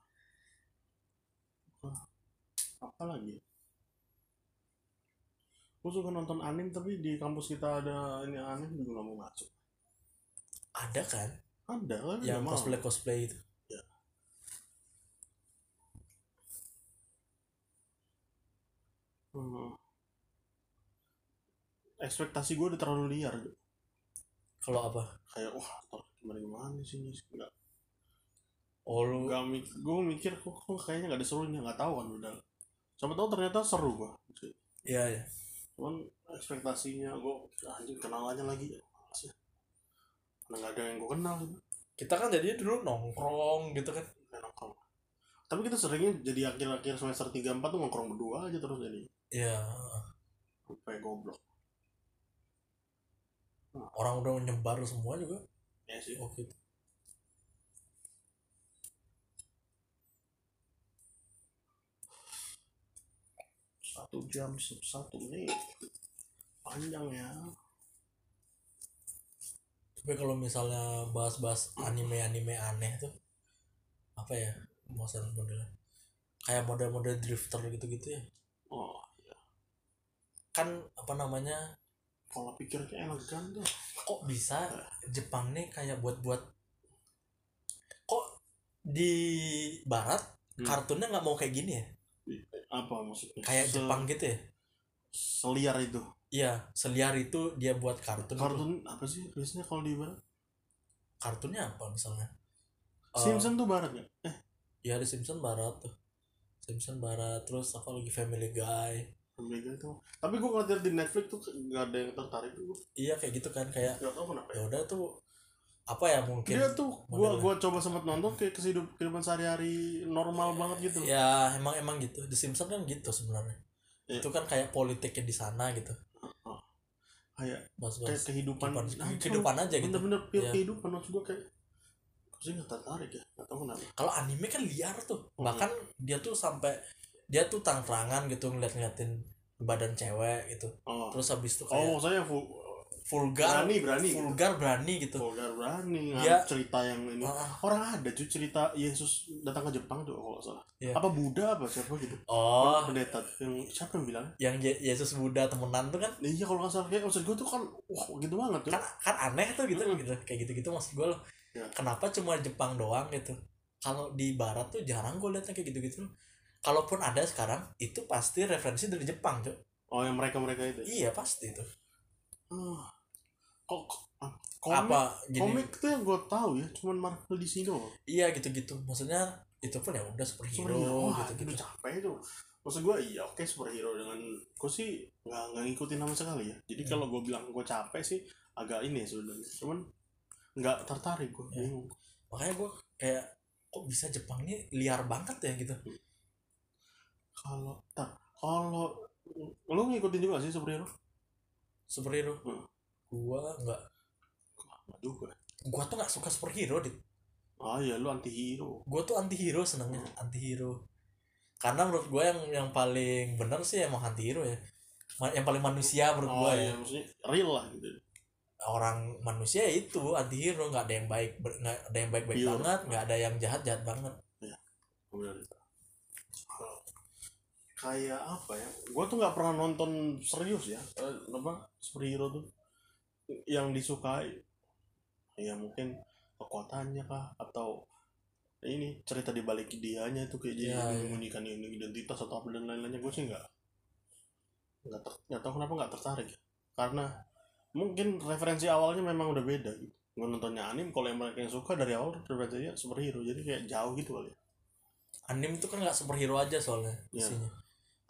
A: Wah, Apa lagi? Gue suka nonton anime tapi di kampus kita ada ini anime juga nggak mau masuk.
B: ada kan
A: Ada kan?
B: yang gitu.
A: nggak mau.
B: cosplay cosplay itu
A: Ya. Hmm. Ekspektasi gue udah terlalu liar. Jo.
B: kalau apa
A: Kayak wah ntar gimana gimana sih ini nggak
B: oh lu
A: nggak mik gue mikir kok, kok kayaknya nggak ada serunya nggak tahu kan udah. Siapa tahu ternyata seru gua.
B: iya ya
A: cuman ekspektasinya gue anjing kenalannya lagi Males ya. karena nggak ada yang gue kenal gitu
B: kita kan jadinya dulu nongkrong gitu kan
A: Kayak nongkrong Nah, tapi kita seringnya jadi akhir-akhir semester 3 4 tuh nongkrong berdua aja terus jadi
B: ya
A: sampai goblok
B: orang udah nyebar semua juga
A: ya sih
B: oke
A: satu jam satu menit panjang ya
B: tapi kalau misalnya bahas-bahas anime-anime aneh tuh apa ya maksudnya modelnya kayak model-model drifter gitu-gitu ya
A: oh
B: kan apa namanya
A: pola pikirnya elegan tuh
B: kok bisa Jepang nih kayak buat-buat kok di barat
A: Hmm.
B: kartunnya nggak mau kayak gini ya
A: apa maksudnya
B: kayak
A: Se-
B: Jepang gitu ya
A: seliar itu
B: iya seliar itu dia buat kartun
A: kartun apa sih biasanya kalau di barat
B: kartunnya apa misalnya Eh,
A: Simpson tuh barat ya
B: Iya ada Simpson Barat tuh. Simpson Barat terus apa lagi Family Guy.
A: Amerika itu tapi gue ngeliat di Netflix tuh nggak ada yang tertarik gue
B: Iya kayak gitu kan kayak
A: nggak tahu kenapa
B: ya udah tuh apa ya mungkin ya.
A: dia tuh gua
B: modelnya.
A: gua coba sempat nonton kayak kehidup kehidupan sehari-hari normal banget gitu
B: ya emang emang gitu The Simpson kan gitu sebenarnya
A: Iya.
B: itu kan kayak politiknya di sana gitu
A: kayak
B: mas
A: kayak
B: mas
A: kehidupan
B: kehidupan aja gitu
A: bener-bener pure
B: Iya.
A: kehidupan maksud gua kayak pasti nggak tertarik ya nggak tahu kenapa
B: kalau anime kan liar tuh
A: Hmm.
B: bahkan dia tuh sampai dia tuh tangkrangan gitu ngeliat-ngeliatin badan cewek gitu
A: oh
B: terus habis itu
A: oh
B: kayak
A: maksudnya fu
B: vulgar
A: berani berani gitu.
B: vulgar berani gitu
A: vulgar berani nggak
B: Dia-
A: cerita yang ini
B: Ah.
A: orang ada cuy cerita Yesus datang ke Jepang tuh kalau nggak salah
B: Iya.
A: apa Buddha apa siapa gitu
B: oh
A: pendeta yang siapa yang bilang
B: yang Ye- Yesus Buddha temenan tuh kan
A: Nah, iya kalau nggak salah kayak maksud gua tuh kan wah gitu banget tuh
B: kan kan aneh tuh gitu
A: Mm-mm.
B: gitu kayak gitu gitu maksud gue loh
A: Ya.
B: kenapa cuma Jepang doang gitu kalau di Barat tuh jarang gue liatnya kayak gitu gitu kalaupun ada sekarang itu pasti referensi dari Jepang tuh
A: oh yang mereka mereka itu
B: iya pasti tuh
A: Ah. kok kok- ah, komik
B: apa gini
A: komik tuh yang gue tahu ya cuman Marvel di sini loh
B: iya gitu gitu maksudnya itu pun ya udah superhero
A: superhero wah
B: gitu
A: itu
B: gitu
A: capek itu maksud gue iya oke superhero dengan gue sih nggak nggak ngikutin sama sekali ya jadi
B: Hmm.
A: kalau gue bilang gue capek sih agak ini ya sebenarnya cuman nggak tertarik gue
B: Ya.
A: bingung
B: makanya gue kayak kok bisa Jepang nih liar banget ya gitu
A: kalau tar kalau lo ngikutin juga sih superhero
B: superhero
A: Hmm.
B: gua nggak
A: nggak juga
B: gua tuh nggak suka superhero dit
A: ah ya lu anti hero
B: gue tuh anti hero senengnya anti hero karena menurut gue yang yang paling benar sih emang anti hero ya Ma- yang paling manusia menurut
A: oh
B: gue ya
A: iya maksudnya real lah gitu
B: orang manusia ya itu anti hero nggak ada yang baik ber- nggak ada yang baik baik
A: Pure.
B: banget nggak ada yang jahat jahat banget
A: Bener. Kalau kayak apa ya gue tuh nggak pernah nonton serius ya eh, apa superhero tuh yang disukai ya mungkin kekuatannya kah atau ini cerita di balik dianya itu kayak jadi
B: Iya, iya.
A: menyembunyikan ini identitas atau apa dan lain-lainnya gue sih nggak nggak ter- nggak tahu kenapa nggak tertarik ya. karena mungkin referensi awalnya memang udah beda gitu Gua nontonnya anime kalau yang mereka yang suka dari awal referensinya superhero jadi kayak jauh gitu kali ya.
B: anime itu kan nggak superhero aja soalnya
A: Iya.
B: isinya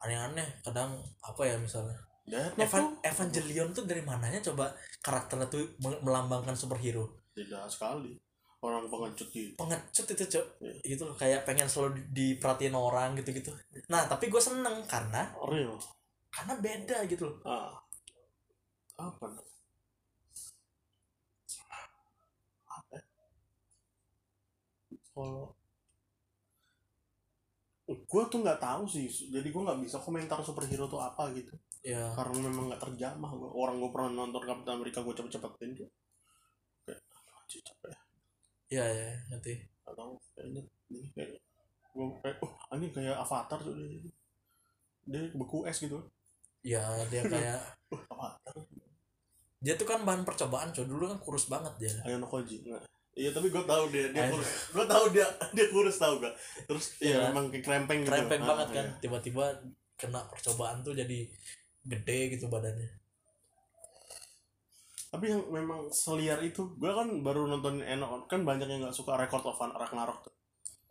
B: aneh-aneh kadang apa ya misalnya
A: Death Note
B: Evan
A: Nah, tuh
B: Evangelion tuh dari mananya coba karakternya tuh mel- melambangkan superhero
A: tidak sekali orang pengecut gitu
B: pengecut itu cok
A: Iya.
B: gitu loh kayak pengen selalu di- diperhatiin orang gitu gitu nah tapi gue seneng karena
A: real
B: karena beda gitu loh
A: ah apa nih? apa ya? kalau gue tuh nggak tahu sih jadi gue nggak bisa komentar superhero tuh apa gitu
B: ya
A: karena memang nggak terjamah gua. orang gue pernah nonton Captain America gue cepet-cepetin dia kayak aduh anjir, capek ya
B: ya ya nanti
A: atau kayaknya ini kayak gue kayak oh ini kayak Avatar tuh dia dia beku es gitu
B: ya dia kayak
A: uh Avatar
B: dia tuh kan bahan percobaan cok dulu kan kurus banget dia
A: Ayo Koji nah. iya tapi gue tahu dia dia
B: Ayo.
A: kurus gue tahu dia dia kurus tahu gak terus
B: Iya.
A: iya memang kayak krempeng gitu
B: krempeng
A: Ah,
B: banget kan
A: iya.
B: tiba-tiba kena percobaan tuh jadi gede gitu badannya
A: tapi yang memang seliar itu gue kan baru nonton Eno kan banyak yang nggak suka Record of Ragnarok tuh.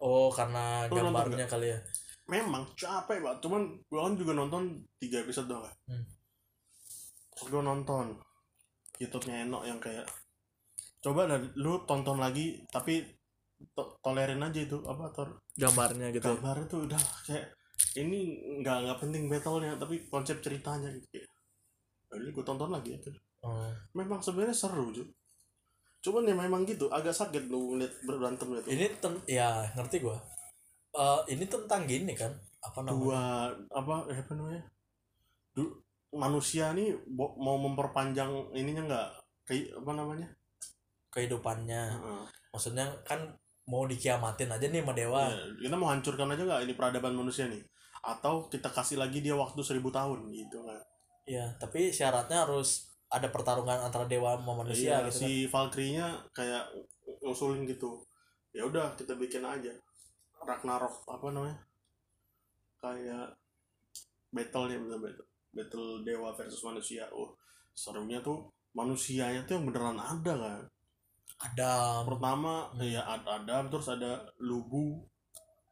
B: oh karena
A: Lu nonton
B: gambarnya kali ya
A: memang capek pak cuman gue kan juga nonton tiga episode doang kan
B: Hmm.
A: terus gue nonton YouTube-nya Eno yang kayak coba dah, lu tonton lagi tapi to- tolerin aja itu apa tor
B: gambarnya gitu ya.
A: gambar itu udah kayak ini nggak nggak penting battle-nya tapi konsep ceritanya gitu kayak ini gue tonton lagi ya
B: Oh.
A: memang sebenarnya seru Ju. cuman ya memang gitu agak sakit lu ngeliat berantem gitu. itu
B: ini ten ya ngerti gua Eh, ini tentang gini kan apa namanya
A: dua apa eh, apa namanya Du- manusia nih bo- mau memperpanjang ininya nggak kayak apa namanya
B: kehidupannya
A: Heeh.
B: maksudnya kan mau dikiamatin aja nih sama dewa
A: Ya, kita mau hancurkan aja nggak ini peradaban manusia nih atau kita kasih lagi dia waktu seribu tahun gitu kan
B: ya tapi syaratnya harus ada pertarungan antara dewa sama manusia
A: Iya,
B: gitu
A: si Valkyrie-nya kayak ngusulin gitu ya udah kita bikin aja Ragnarok apa namanya kayak battle ya bener battle battle dewa versus manusia oh serunya tuh manusianya tuh yang beneran ada kan
B: kan ada
A: pertama
B: Hmm.
A: ya ada Adam terus ada Lubu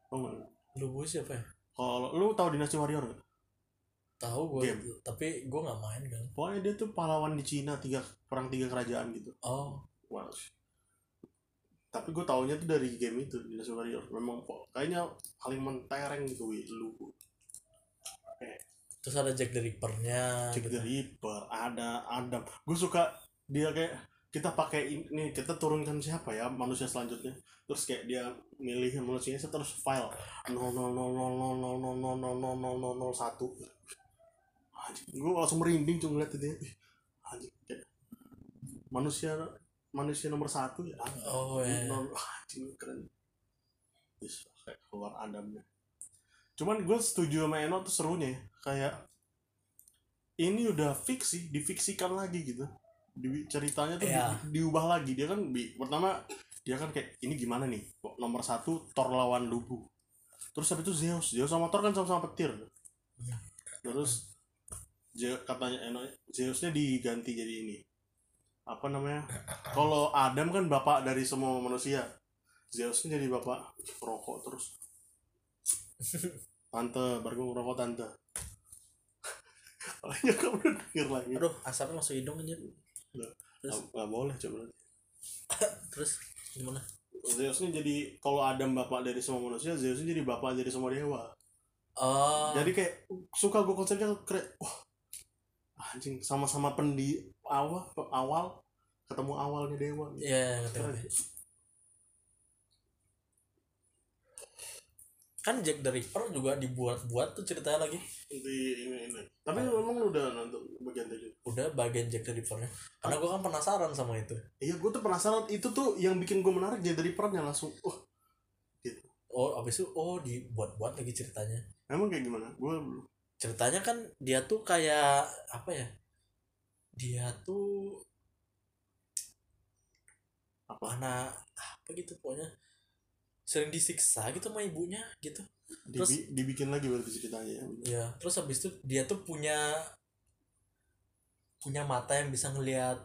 A: Tau nggak lu?
B: lu siapa ya
A: kalau lu tahu dinasti warrior nggak?
B: tahu gua
A: Game.
B: tapi gua nggak main kan
A: pokoknya dia tuh pahlawan di Cina tiga perang tiga kerajaan gitu
B: oh
A: Wow. Tapi gue taunya tuh dari game itu Dynasty Warrior. Memang po- kayaknya paling mentereng gitu wih, lu.
B: terus ada Jack the Ripper-nya
A: Cek
B: gitu.
A: the Reaper, ada Adam. Gue suka dia kayak kita pakai in- nih kita turunkan siapa ya manusia selanjutnya terus kayak dia milih manusianya terus file nol nol nol nol nol nol nol nol nol nol nol nol nol satu gue langsung merinding tuh ngeliat itu anjing kayak manusia manusia nomor satu ya
B: Oh ya.
A: Nol- wah, anjing, keren. Yes, kayak keluar Adamnya. Cuman gue setuju sama Eno tuh serunya ya. Kayak ini udah fiksi, difiksikan lagi gitu. Di, ceritanya tuh di-
B: Iya.
A: diubah lagi. Dia kan bi- pertama dia kan kayak ini gimana nih? Kok nomor satu Thor lawan Lubu. Terus habis itu Zeus, Zeus sama Thor kan sama-sama petir. Terus Ze- katanya Eno Zeusnya diganti jadi ini apa namanya kalau Adam kan bapak dari semua manusia Zeus kan jadi bapak rokok terus tante baru gua ngerokok tante makanya kamu udah denger lagi
B: Aduh, asapnya masuk hidung aja.
A: nggak nggak boleh coba
B: Terus gimana?
A: Zeusnya kan jadi kalau Adam bapak dari semua manusia Zeusnya jadi bapak dari semua dewa
B: Oh.
A: jadi kayak suka gue konsepnya keren wah anjing sama-sama pendi awal awal ketemu awalnya dewa gitu.
B: ya
A: Keren.
B: Kan Jack the Ripper juga dibuat-buat tuh ceritanya lagi.
A: di ini ini tapi memang lu udah nonton bagian tadi
B: Udah bagian Jack the Ripper-nya. Karena gue kan penasaran sama itu.
A: iya gue tuh penasaran itu tuh yang bikin gue menarik jadi dari perannya langsung wah
B: Oh, abis itu oh dibuat-buat lagi ceritanya.
A: emang kayak gimana gue belum
B: Ceritanya kan dia tuh kayak apa ya? Dia tuh
A: apa
B: mana apa gitu pokoknya sering disiksa gitu sama ibunya gitu
A: Dibi- dibikin lagi berarti ceritanya ya
B: ya terus habis itu dia tuh punya punya mata yang bisa ngelihat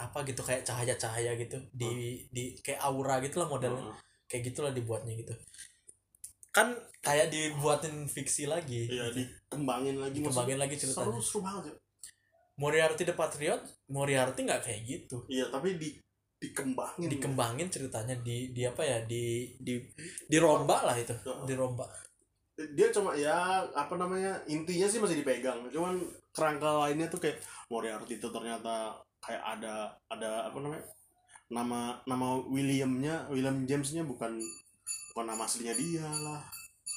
B: apa gitu kayak cahaya-cahaya gitu
A: Hmm.
B: di di kayak aura gitu lah modelnya
A: Heeh.
B: kayak gitulah dibuatnya gitu kan kayak dibuatin fiksi lagi
A: Iya, dikembangin lagi maksudnya.
B: dikembangin lagi
A: Seru,
B: ceritanya
A: seru banget ya.
B: Moriarty the Patriot Moriarty nggak kayak gitu
A: Iya, tapi di
B: Hmm.
A: dikembangin.
B: dikembangin ceritanya di di apa ya di di dirombak lah itu
A: Heeh.
B: dirombak
A: dia cuma ya apa namanya intinya sih masih dipegang cuman kerangka lainnya tuh kayak Moriarty itu ternyata kayak ada ada apa namanya nama nama Williamnya William Jamesnya bukan bukan nama aslinya dia lah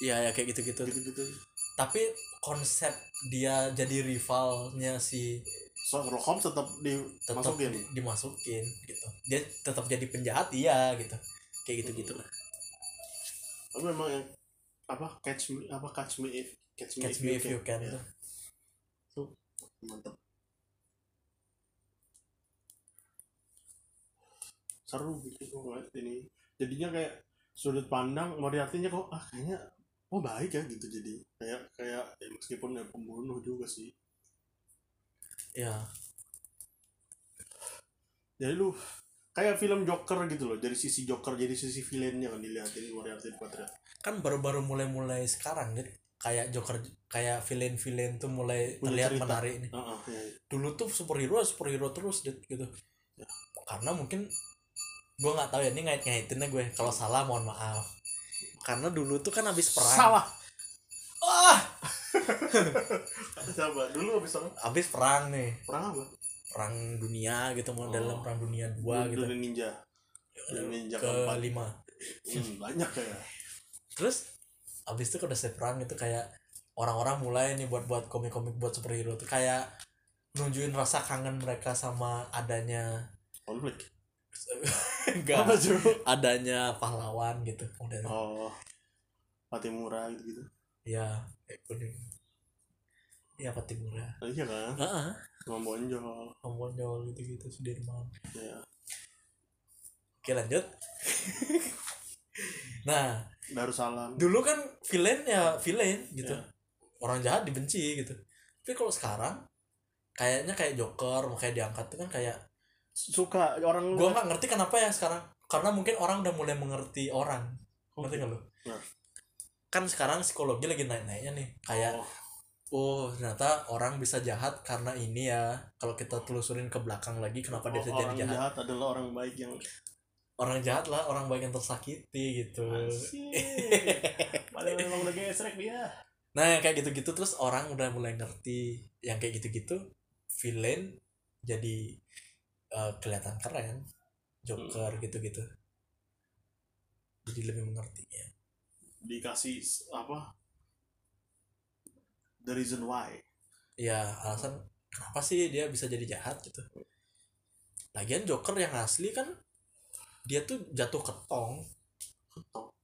B: iya ya kayak gitu gitu
A: gitu gitu
B: tapi konsep dia jadi rivalnya si
A: Sherlock Holmes tetap
B: tetap
A: dimasukin
B: di- dimasukin gitu dia tetap jadi penjahat iya gitu kayak gitu gitu lah
A: tapi memang yang apa catch me apa catch me if catch me,
B: catch me if you can
A: Ya,
B: tuh.
A: mantep seru gitu kok ngeliat ini jadinya kayak sudut pandang Moriarty-nya kok ah kayaknya oh baik ya gitu jadi kayak kayak ya meskipun ya pembunuh juga sih
B: ya
A: jadi lu kayak film Joker gitu loh dari sisi Joker jadi sisi villainnya kan dilihatin Moriarty di Patriot
B: kan baru-baru mulai-mulai sekarang gitu kayak Joker kayak villain-villain tuh mulai
A: Punya
B: terlihat
A: cerita.
B: menarik nih
A: Heeh, iya, iya.
B: dulu tuh superhero superhero terus Dit, gitu karena mungkin gue nggak tahu ya ini ngait-ngaitinnya gue kalau salah mohon maaf karena dulu tuh kan habis perang Ah!
A: salah
B: wah
A: sabar dulu habis apa
B: habis perang nih
A: perang apa
B: perang dunia gitu mau dalam
A: Oh.
B: perang dunia dua gitu
A: Dunia ninja Dunia ninja
B: ke
A: keempat
B: lima
A: hmm, banyak ya
B: terus abis itu udah selesai perang itu kayak orang-orang mulai nih buat buat komik-komik buat superhero tuh kayak nunjukin rasa kangen mereka sama adanya
A: konflik
B: enggak
A: tuh
B: adanya pahlawan gitu udah
A: oh mati murah gitu gitu
B: ya kayak kuning ya peti murah
A: iya kan
B: Heeh,
A: sama bonjol
B: Omonjol gitu-gitu Sudirman.
A: ya
B: Oke lanjut. nah,
A: Darussalam
B: dulu kan villain ya villain gitu.
A: Ya.
B: Orang jahat dibenci gitu. Tapi kalau sekarang kayaknya kayak Joker makanya diangkat tuh kan kayak
A: suka orang
B: gua nggak ngerti kenapa ya sekarang karena mungkin orang udah mulai mengerti orang ngerti nggak lu
A: Nah.
B: kan sekarang psikologi lagi naik-naiknya nih kayak
A: Oh,
B: oh ternyata orang bisa jahat karena ini ya kalau kita telusurin ke belakang lagi kenapa dia bisa jadi
A: Oh, orang
B: jahat
A: jahat. adalah orang baik yang
B: orang jahat lah orang baik yang tersakiti gitu
A: Asik. padahal memang udah gesrek dia
B: nah yang kayak gitu-gitu terus orang udah mulai ngerti yang kayak gitu-gitu villain jadi eh, kelihatan keren joker
A: Hmm.
B: gitu-gitu jadi lebih mengerti ya
A: dikasih s- apa the reason why
B: ya alasan kenapa sih dia bisa jadi jahat gitu lagian joker yang asli kan dia tuh jatuh ke tong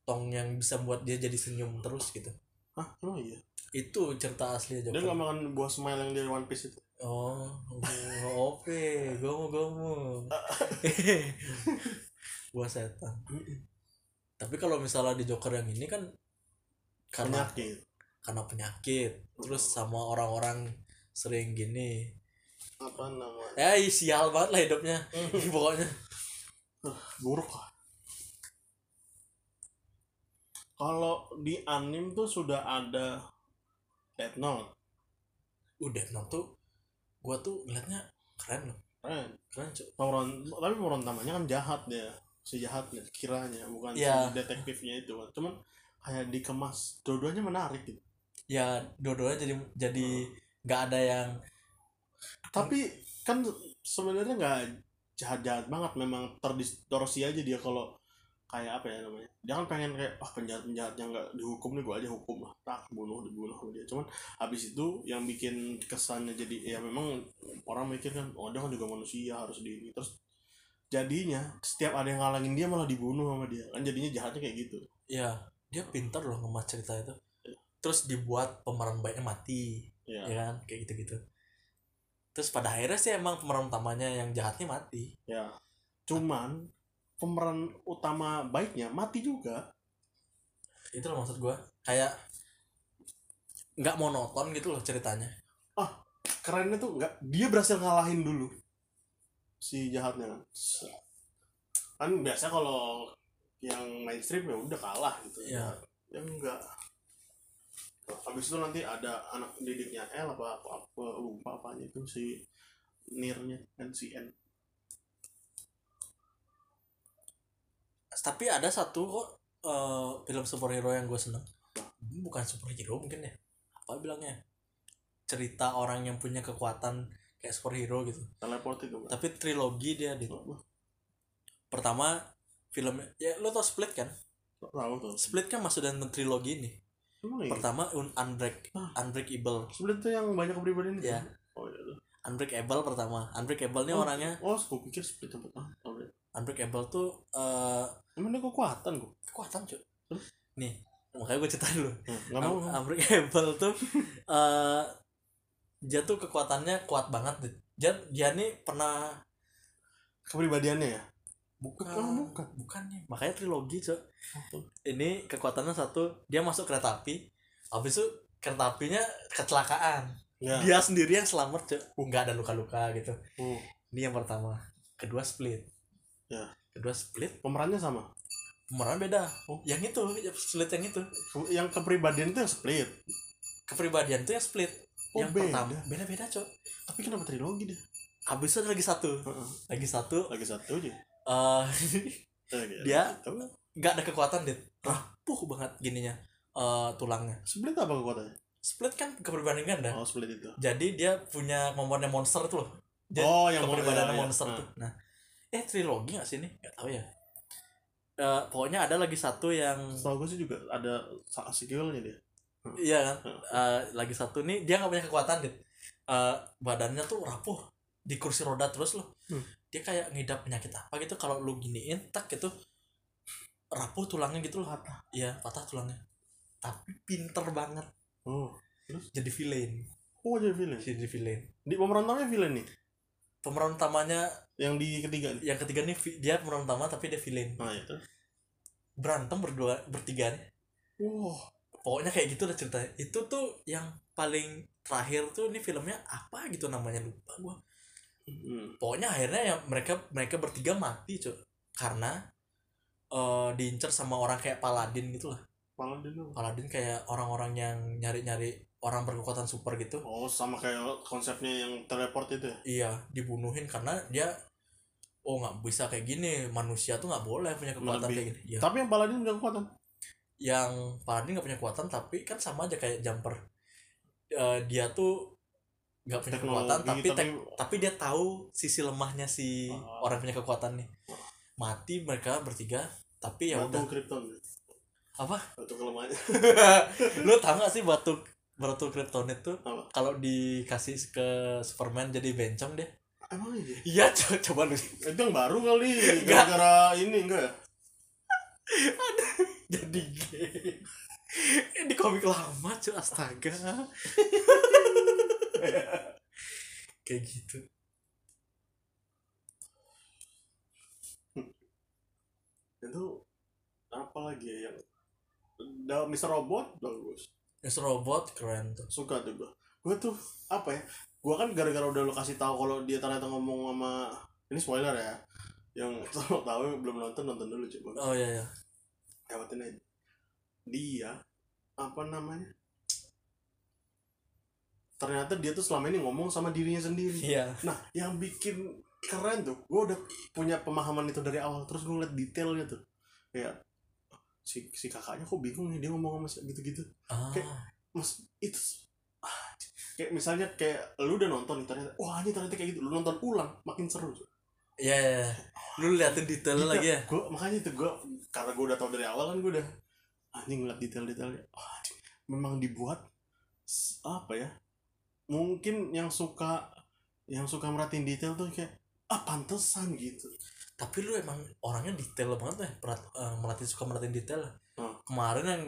B: tong yang bisa buat dia jadi senyum terus gitu
A: Hah, emang iya?
B: itu cerita asli
A: Dia
B: joker
A: nggak makan buah smile yang dari One Piece itu.
B: Oh, oh, oke, gomu gomu. Buah setan. Tapi kalau misalnya di Joker yang ini kan karena
A: Penyakit.
B: karena penyakit, terus sama orang-orang sering gini.
A: Apa namanya?
B: Eh, sial banget lah hidupnya. Pokoknya
A: buruk lah. Kalau di anim tuh sudah ada Death Note,
B: udah nah tuh gua tuh ngeliatnya keren loh.
A: kan?
B: Keren, cuy.
A: Pemeran, tapi pemeran utamanya kan jahat dia, si jahatnya kiranya, bukan
B: Iya.
A: si detektifnya itu. kan. Cuman kayak dikemas, dua-duanya menarik gitu.
B: Ya, dua-duanya jadi jadi nggak ada yang
A: Tapi kan sebenarnya nggak jahat-jahat banget, memang terdistorsi aja dia kalau kayak apa ya namanya dia kan pengen kayak wah penjahat-penjahat yang nggak dihukum nih gue aja hukum lah tak bunuh dibunuh sama dia cuman habis itu yang bikin kesannya jadi ya memang orang mikir kan oh dia kan juga manusia harus di ini terus jadinya setiap ada yang ngalangin dia malah dibunuh sama dia kan jadinya jahatnya kayak gitu
B: ya dia pintar loh ngemas cerita itu. Terus dibuat pemeran baiknya mati.
A: ya
B: ya kan kayak gitu gitu terus pada akhirnya sih emang pemeran utamanya yang jahatnya mati
A: ya cuman pemeran utama baiknya mati juga
B: itu loh maksud gua kayak nggak monoton gitu loh ceritanya
A: kerennya tuh nggak dia berhasil ngalahin dulu si jahatnya kan kan biasa kalau yang mainstream ya udah kalah gitu
B: Iya.
A: ya enggak Nah, habis itu nanti ada anak didiknya L apa apa, apa lupa apanya itu si nirnya NCN
B: tapi ada satu kok eh, film superhero yang gue seneng bukan superhero mungkin ya apa bilangnya cerita orang yang punya kekuatan kayak superhero gitu
A: teleport itu kan
B: tapi trilogi dia di pertama film ya lo tau split kan
A: tahu tuh
B: split kan masuk dalam trilogi ini
A: emang iya
B: pertama Un- Unbreak Unbreakable
A: sebenarnya tuh yang banyak pribadi itu
B: Iya.
A: oh iya tuh.
B: Unbreakable pertama Unbreakable ini orangnya
A: oh aku pikir split tempat ah oh, iya.
B: Unbreakable tuh eh
A: emang dia kekuatan kok
B: kekuatan cuy
A: Hmm?
B: nih makanya gue cerita dulu
A: nggak mau
B: Am- Unbreakable tuh eh dia tuh kekuatannya kuat banget Dit. dia dia nih pernah
A: kepribadiannya ya
B: bukan
A: Oh, bukan.
B: bukan nih makanya trilogi cuy ini kekuatannya satu dia masuk kereta api habis itu kereta apinya kecelakaan
A: ya
B: dia sendiri yang selamat cuy nggak ada luka-luka gitu
A: Oh,
B: ini yang pertama kedua split
A: Ya.
B: kedua split
A: pemerannya sama
B: pemeran beda
A: Oh.
B: yang itu yang split yang itu
A: Ke- yang kepribadian itu yang split
B: kepribadian tuh yang split
A: Oh,
B: yang
A: beda.
B: pertama beda beda cok
A: tapi kenapa trilogi deh
B: habis itu ada lagi satu
A: Heeh.
B: lagi satu
A: lagi satu aja Iya, gitu.
B: eh,
A: Lagi
B: Dia-
A: satu.
B: nggak ada kekuatan dit rapuh banget gininya eh, tulangnya
A: split apa kekuatannya
B: split kan kepribadian ganda
A: oh split itu
B: jadi dia punya kemampuannya monster tuh loh Dia-
A: oh yang
B: kepribadian
A: ya, ya.
B: monster
A: Ah.
B: tuh nah eh trilogi nggak sih ini nggak tahu ya Eh, pokoknya ada lagi satu yang
A: Nah, Setahu gue sih juga ada sa- sequelnya dia.
B: Iya kan?
A: Heeh.
B: Eh, lagi satu nih dia nggak punya kekuatan dit. Eh, badannya tuh rapuh di kursi roda terus loh.
A: Hmm.
B: Dia kayak ngidap penyakit apa gitu kalau lu giniin tak gitu rapuh tulangnya gitu loh.
A: Patah.
B: Iya, patah tulangnya. Tapi pinter banget
A: Oh,
B: jadi villain.
A: oh jadi villain.
B: Jadi villain.
A: Di pemeran utamanya villain nih,
B: Pemeran utamanya
A: yang di ketiga nih.
B: yang ketiga nih vi- dia pemeran utama tapi dia villain.
A: Nah itu.
B: Berantem berdua bertiga nih.
A: Wah,
B: Pokoknya kayak gitu lah ceritanya. Itu tuh yang paling terakhir tuh ini filmnya apa gitu namanya lupa gua.
A: Hmm.
B: pokoknya akhirnya ya mereka mereka bertiga mati cuy karena eh diincar sama orang kayak Paladin gitu lah
A: Malah dulu.
B: Paladin kayak orang-orang yang nyari-nyari orang berkekuatan super gitu
A: Oh, sama kayak konsepnya yang teleport itu ya.
B: iya dibunuhin karena dia oh nggak bisa kayak gini manusia tuh nggak boleh punya kekuatan
A: Lebih.
B: kayak gini Iya.
A: Tapi yang paladin udah kekuatan.
B: yang Paladin nggak punya kekuatan tapi kan sama aja kayak jumper Eh, dia tuh nggak punya kekuatan tapi tek- tapi dia tahu sisi lemahnya si
A: Oh.
B: orang punya kekuatan nih mati mereka bertiga tapi ya
A: batu
B: udah
A: Krypton.
B: Apa?
A: Batu kelemahannya.
B: lu tau gak sih batu batu kryptonite tuh
A: Apa?
B: kalau dikasih ke Superman jadi bencong deh
A: Emang iya.
B: iya co- coba lu
A: Itu yang baru kali gara-gara ini enggak ya?
B: jadi gay ini komik lama cuy astaga kayak gitu
A: Itu apa lagi ya yang Da- Mr. Robot bagus.
B: Miss Robot keren tuh
A: suka tuh gue gue tuh apa ya gue kan gara-gara udah lo kasih tahu kalau dia ternyata ngomong sama ini spoiler ya yang kalau tahu belum nonton nonton dulu coba
B: oh iya iya
A: lewatin aja dia apa namanya ternyata dia tuh selama ini ngomong sama dirinya sendiri
B: iya
A: nah yang bikin keren tuh gue udah punya pemahaman itu dari awal terus gue liat detailnya tuh kayak si si kakaknya kok bingung nih dia ngomong sama si- gitu-gitu
B: ah
A: Kayak- mas itu ah, kayak misalnya kayak lu udah nonton ternyata wah ini ternyata kayak gitu lu nonton ulang makin seru
B: iya iya iya. lu liatin detailnya lagi ya
A: gua, makanya itu gua karena gua udah tau dari awal kan gua udah anjing ngeliat detail-detailnya wah anjing, memang dibuat s- apa ya mungkin yang suka yang suka merhatiin detail tuh kayak ah pantesan gitu
B: tapi lu emang orangnya detail banget ya perat, eh, merhatiin suka merhatiin detail
A: Hmm.
B: kemarin yang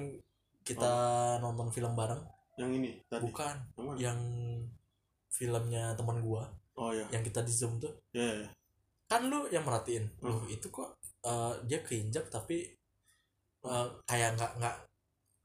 B: kita nonton film bareng
A: yang ini tadi
B: bukan Iya.
A: yang mana?
B: yang filmnya teman gua
A: oh ya
B: yang kita di zoom tuh
A: ya ya
B: kan lu yang merhatiin
A: Hmm.
B: Loh, itu kok eh, dia keinjak tapi eh, kayak nggak nggak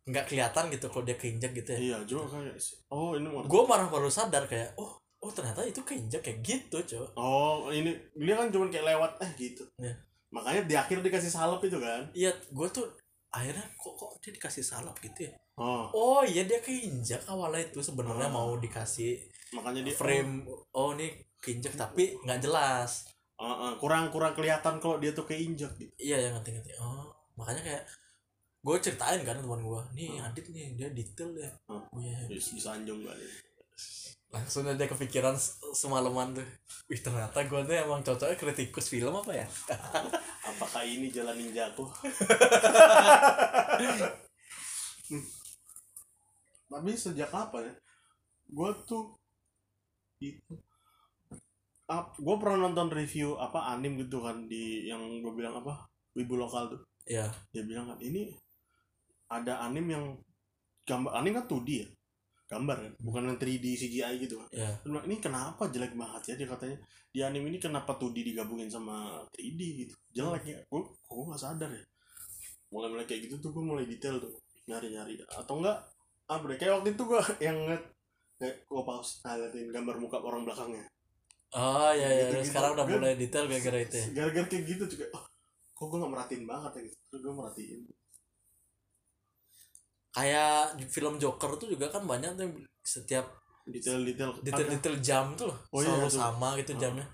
B: nggak kelihatan gitu kalau dia keinjak gitu ya
A: iya juga Iya, kayak oh ini mau
B: gue marah baru sadar kayak oh oh ternyata itu keinjak kayak gitu cok
A: Oh, ini dia kan cuma kayak lewat eh gitu.
B: Iya.
A: Makanya di akhir dikasih salep itu kan.
B: iya gue tuh akhirnya kok kok dia dikasih salap gitu ya
A: Oh,
B: oh iya dia keinjak awalnya itu
A: Ah.
B: sebenarnya mau dikasih
A: makanya dia
B: frame oh nih keinjak tapi nggak jelas
A: Oh, eh, eh, kurang-kurang kelihatan kalau dia tuh keinjak gitu.
B: iya yang ngerti ngerti oh makanya kayak gue ceritain kan teman gue nih
A: Hmm.
B: adit nih dia detail ya
A: Hmm.
B: oh, iya, iya.
A: Bis- Disanjung kan. kali.
B: langsung aja kepikiran se- semalaman tuh wih ternyata gue tuh emang cocoknya kritikus film apa ya
A: Apakah ini jalan ninjaku? Hmm. Tapi sejak kapan ya? Gue tuh itu ap, gue pernah nonton review apa anim gitu kan di yang gue bilang apa wibu lokal tuh
B: ya
A: dia bilang kan ini ada anim yang gambar anim kan 2D ya gambar kan bukan yang 3D CGI gitu kan
B: ya
A: Dia bilang, ini kenapa jelek banget ya dia katanya di anim ini kenapa 2D digabungin sama 3D gitu jelek ya gue gue nggak sadar ya mulai mulai kayak gitu tuh gue mulai detail tuh nyari nyari atau enggak ah bener. kayak waktu itu gue yang ngeliat kayak gue pause ngeliatin gambar muka orang belakangnya
B: oh ya ya
A: Gitu-gitu.
B: sekarang udah
A: Kan-
B: mulai detail gara-gara itu ya.
A: gara-gara kayak gitu juga oh, kok gue nggak merhatiin banget ya gitu terus gue merhatiin
B: kayak film Joker tuh juga kan banyak tuh yang setiap
A: detail-detail
B: detail-detail jam tuh loh
A: Oh iya,
B: selalu
A: tuh.
B: sama gitu
A: Ah.
B: jamnya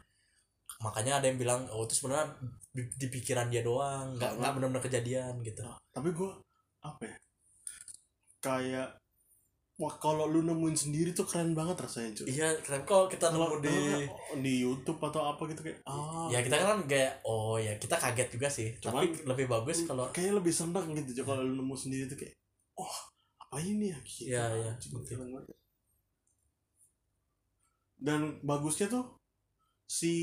B: makanya ada yang bilang oh itu sebenarnya di, di pikiran dia doang nggak nggak benar-benar kejadian gitu
A: tapi gue apa ya kayak wah kalau lu nemuin sendiri tuh keren banget rasanya cuy
B: iya keren kok kita nemu
A: kalau
B: di
A: di di YouTube atau apa gitu kayak ah
B: ya kita kan kayak oh ya kita kaget juga sih
A: Cuman-
B: tapi lebih bagus kalau
A: kayaknya lebih seneng gitu cuy kalau lu nemu sendiri tuh kayak oh apa ini ya gitu
B: Iya, iya,
A: Cuy,
B: betul.
A: keren banget. dan bagusnya tuh si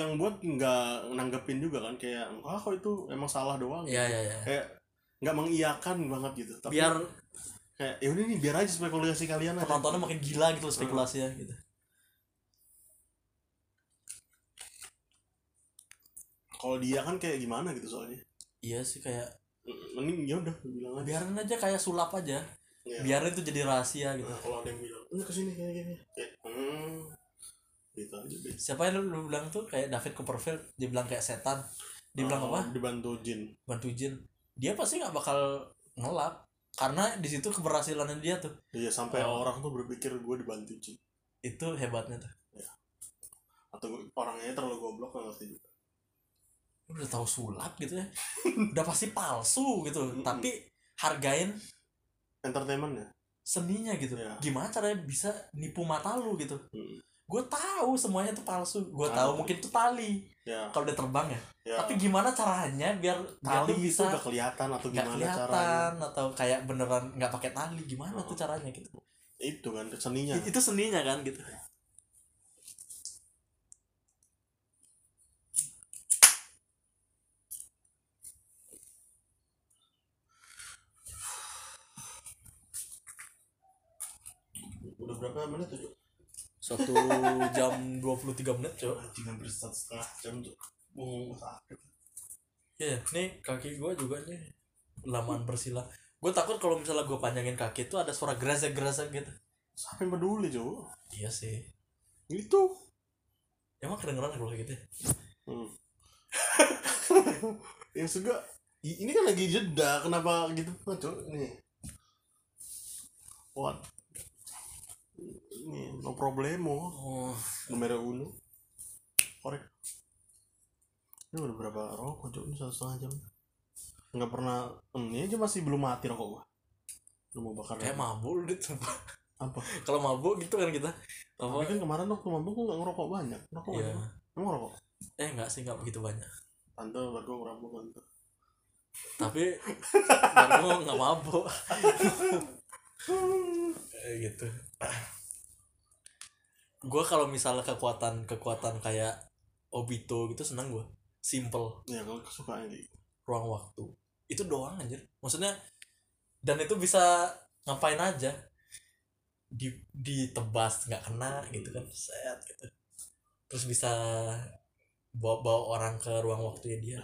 A: yang buat nggak nanggepin juga kan kayak ah kok itu emang salah doang
B: ya ya ya
A: kayak nggak mengiyakan banget gitu Hmm. tapi
B: biar
A: kayak ya udah nih biar aja spekulasi kalian aja."
B: penontonnya makin gila gitu loh spekulasinya gitu
A: kalau dia kan kayak gimana gitu soalnya
B: iya sih kayak
A: mending ya udah bilang aja
B: biarin aja kayak sulap aja
A: Iya.
B: biarin itu jadi rahasia gitu
A: Nah, kalau ada yang bilang ini kesini kayak gini kayak hmm gitu aja deh
B: siapa yang lu, lu bilang tuh kayak David Copperfield dia bilang kayak setan dia
A: Oh.
B: bilang apa
A: dibantu jin
B: bantu jin dia pasti nggak bakal ngelak karena di situ keberhasilannya dia tuh
A: iya sampai
B: Oh.
A: orang tuh berpikir gue dibantu jin
B: itu hebatnya tuh
A: atau gua- orangnya terlalu goblok nggak ngerti juga
B: Lu udah tahu sulap gitu ya udah pasti palsu gitu
A: Mm-mm.
B: tapi hargain
A: entertainment ya
B: seninya gitu
A: Iya.
B: gimana caranya bisa nipu mata lu gitu
A: Mm.
B: gue tahu semuanya tuh palsu gue
A: Tahu.
B: tahu mungkin itu tali
A: ya
B: kalau udah terbang ya
A: Ah. ya
B: tapi gimana caranya biar tali
A: tali itu
B: bisa
A: udah kelihatan atau
B: nggak
A: gimana caranya Oh.
B: kelihatan atau kayak beneran nggak pakai tali gimana tuh caranya gitu
A: itu kan seninya
B: I- itu seninya kan gitu
A: udah berapa menit tuh Cuk?
B: satu jam 23 menit cok
A: anjing hampir satu setengah jam tuh Bung, sakit.
B: ya nih kaki gue juga nih lamaan bersila gue takut kalau misalnya gue panjangin kaki itu ada suara gresek gresek gitu
A: siapa yang peduli cuy
B: iya sih
A: itu
B: emang kedengeran kalau kayak gitu ya?
A: Hmm. yang suka i- ini kan lagi jeda kenapa gitu kan Cok? nih what ini no problemo
B: oh
A: numero uno korek ini udah berapa rokok cok ini satu setengah jam nggak pernah hmm, ini aja masih belum mati rokok gua lu mau bakar
B: kayak
A: lagi.
B: mabuk lu dit sumpah.
A: apa
B: kalau mabuk gitu kan kita
A: tapi
B: apa
A: kan kemarin waktu mabuk gua nggak ngerokok banyak ngerokok
B: Iya.
A: banyak emang ngerokok
B: eh nggak sih nggak begitu banyak
A: tante baru ngerokok tante
B: tapi baru nggak mabuk Eh, gitu gue kalau misalnya kekuatan kekuatan kayak obito gitu seneng gue simple
A: ya kalau kesukaan gitu
B: ruang waktu itu doang anjir maksudnya dan itu bisa ngapain aja di ditebas nggak kena gitu kan set gitu terus bisa bawa bawa orang ke ruang waktunya dia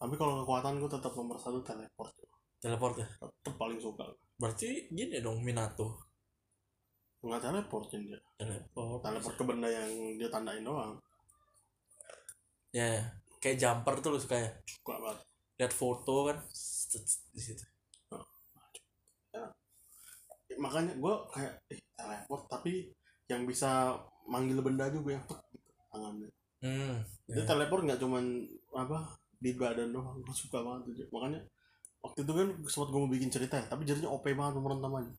A: tapi kalau kekuatan gue tetap nomor satu teleport
B: teleport ya
A: tetap paling suka
B: berarti gini dong Minato
A: nggak teleportin dia
B: teleport
A: teleport ke benda yang dia tandain doang
B: ya ya. kayak jumper tuh lu suka ya
A: suka banget
B: lihat foto kan set, set, di situ
A: Eh, makanya gue kayak eh, teleport tapi yang bisa manggil benda juga yang tek, gitu, tangannya
B: hmm
A: dia teleport nggak cuman apa di badan doang gue suka banget tuh, makanya waktu itu kan sempat gue mau bikin cerita ya, tapi jadinya OP banget pemeran utamanya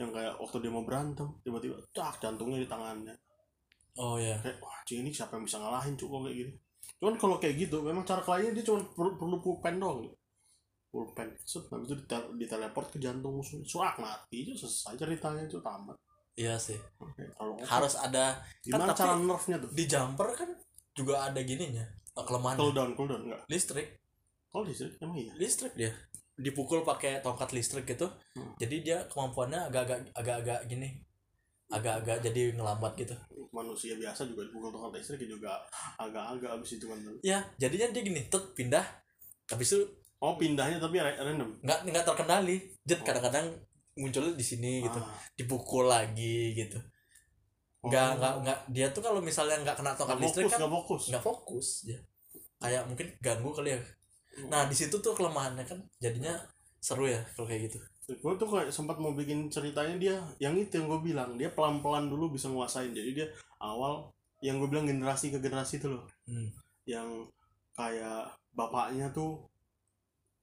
A: yang kayak waktu dia mau berantem tiba-tiba cak jantungnya di tangannya
B: oh ya
A: kayak wah anjing, ini siapa yang bisa ngalahin cuk kok kayak gini cuman kalau kayak gitu memang cara kliennya dia cuma perlu, perlu pulpen doang pulpen set habis itu ditel- diteleport ke jantung musuh suak mati itu selesai ceritanya itu tamat
B: iya sih
A: Oke, kalau
B: harus ada
A: gimana
B: tapi-
A: cara nerfnya tuh
B: di jumper kan juga ada gininya kelemahan
A: cool down cool down enggak
B: listrik
A: kalau di sini emang iya
B: listrik dia dipukul pakai tongkat listrik gitu
A: Hmm.
B: jadi dia kemampuannya agak-agak agak-agak gini agak-agak jadi ngelambat gitu
A: manusia biasa juga dipukul tongkat listrik juga agak-agak abis itu kan
B: ya jadinya dia gini tet pindah habis itu
A: oh pindahnya tapi ra- random
B: nggak nggak terkendali jet kadang-kadang munculnya di sini gitu
A: Oh. Ah.
B: dipukul lagi gitu
A: Oh.
B: nggak nggak nggak dia tuh kalau misalnya nggak kena
A: Nggak
B: tongkat listrik
A: fokus
B: kan
A: nggak fokus
B: nggak fokus ya kayak mungkin ganggu kali ya
A: Hmm.
B: nah di situ tuh kelemahannya kan jadinya seru ya kalau kayak gitu
A: gue tuh kayak sempat mau bikin ceritanya dia yang itu yang gue bilang dia pelan-pelan dulu bisa nguasain jadi dia awal yang gue bilang generasi ke generasi itu loh
B: hmm.
A: yang kayak bapaknya tuh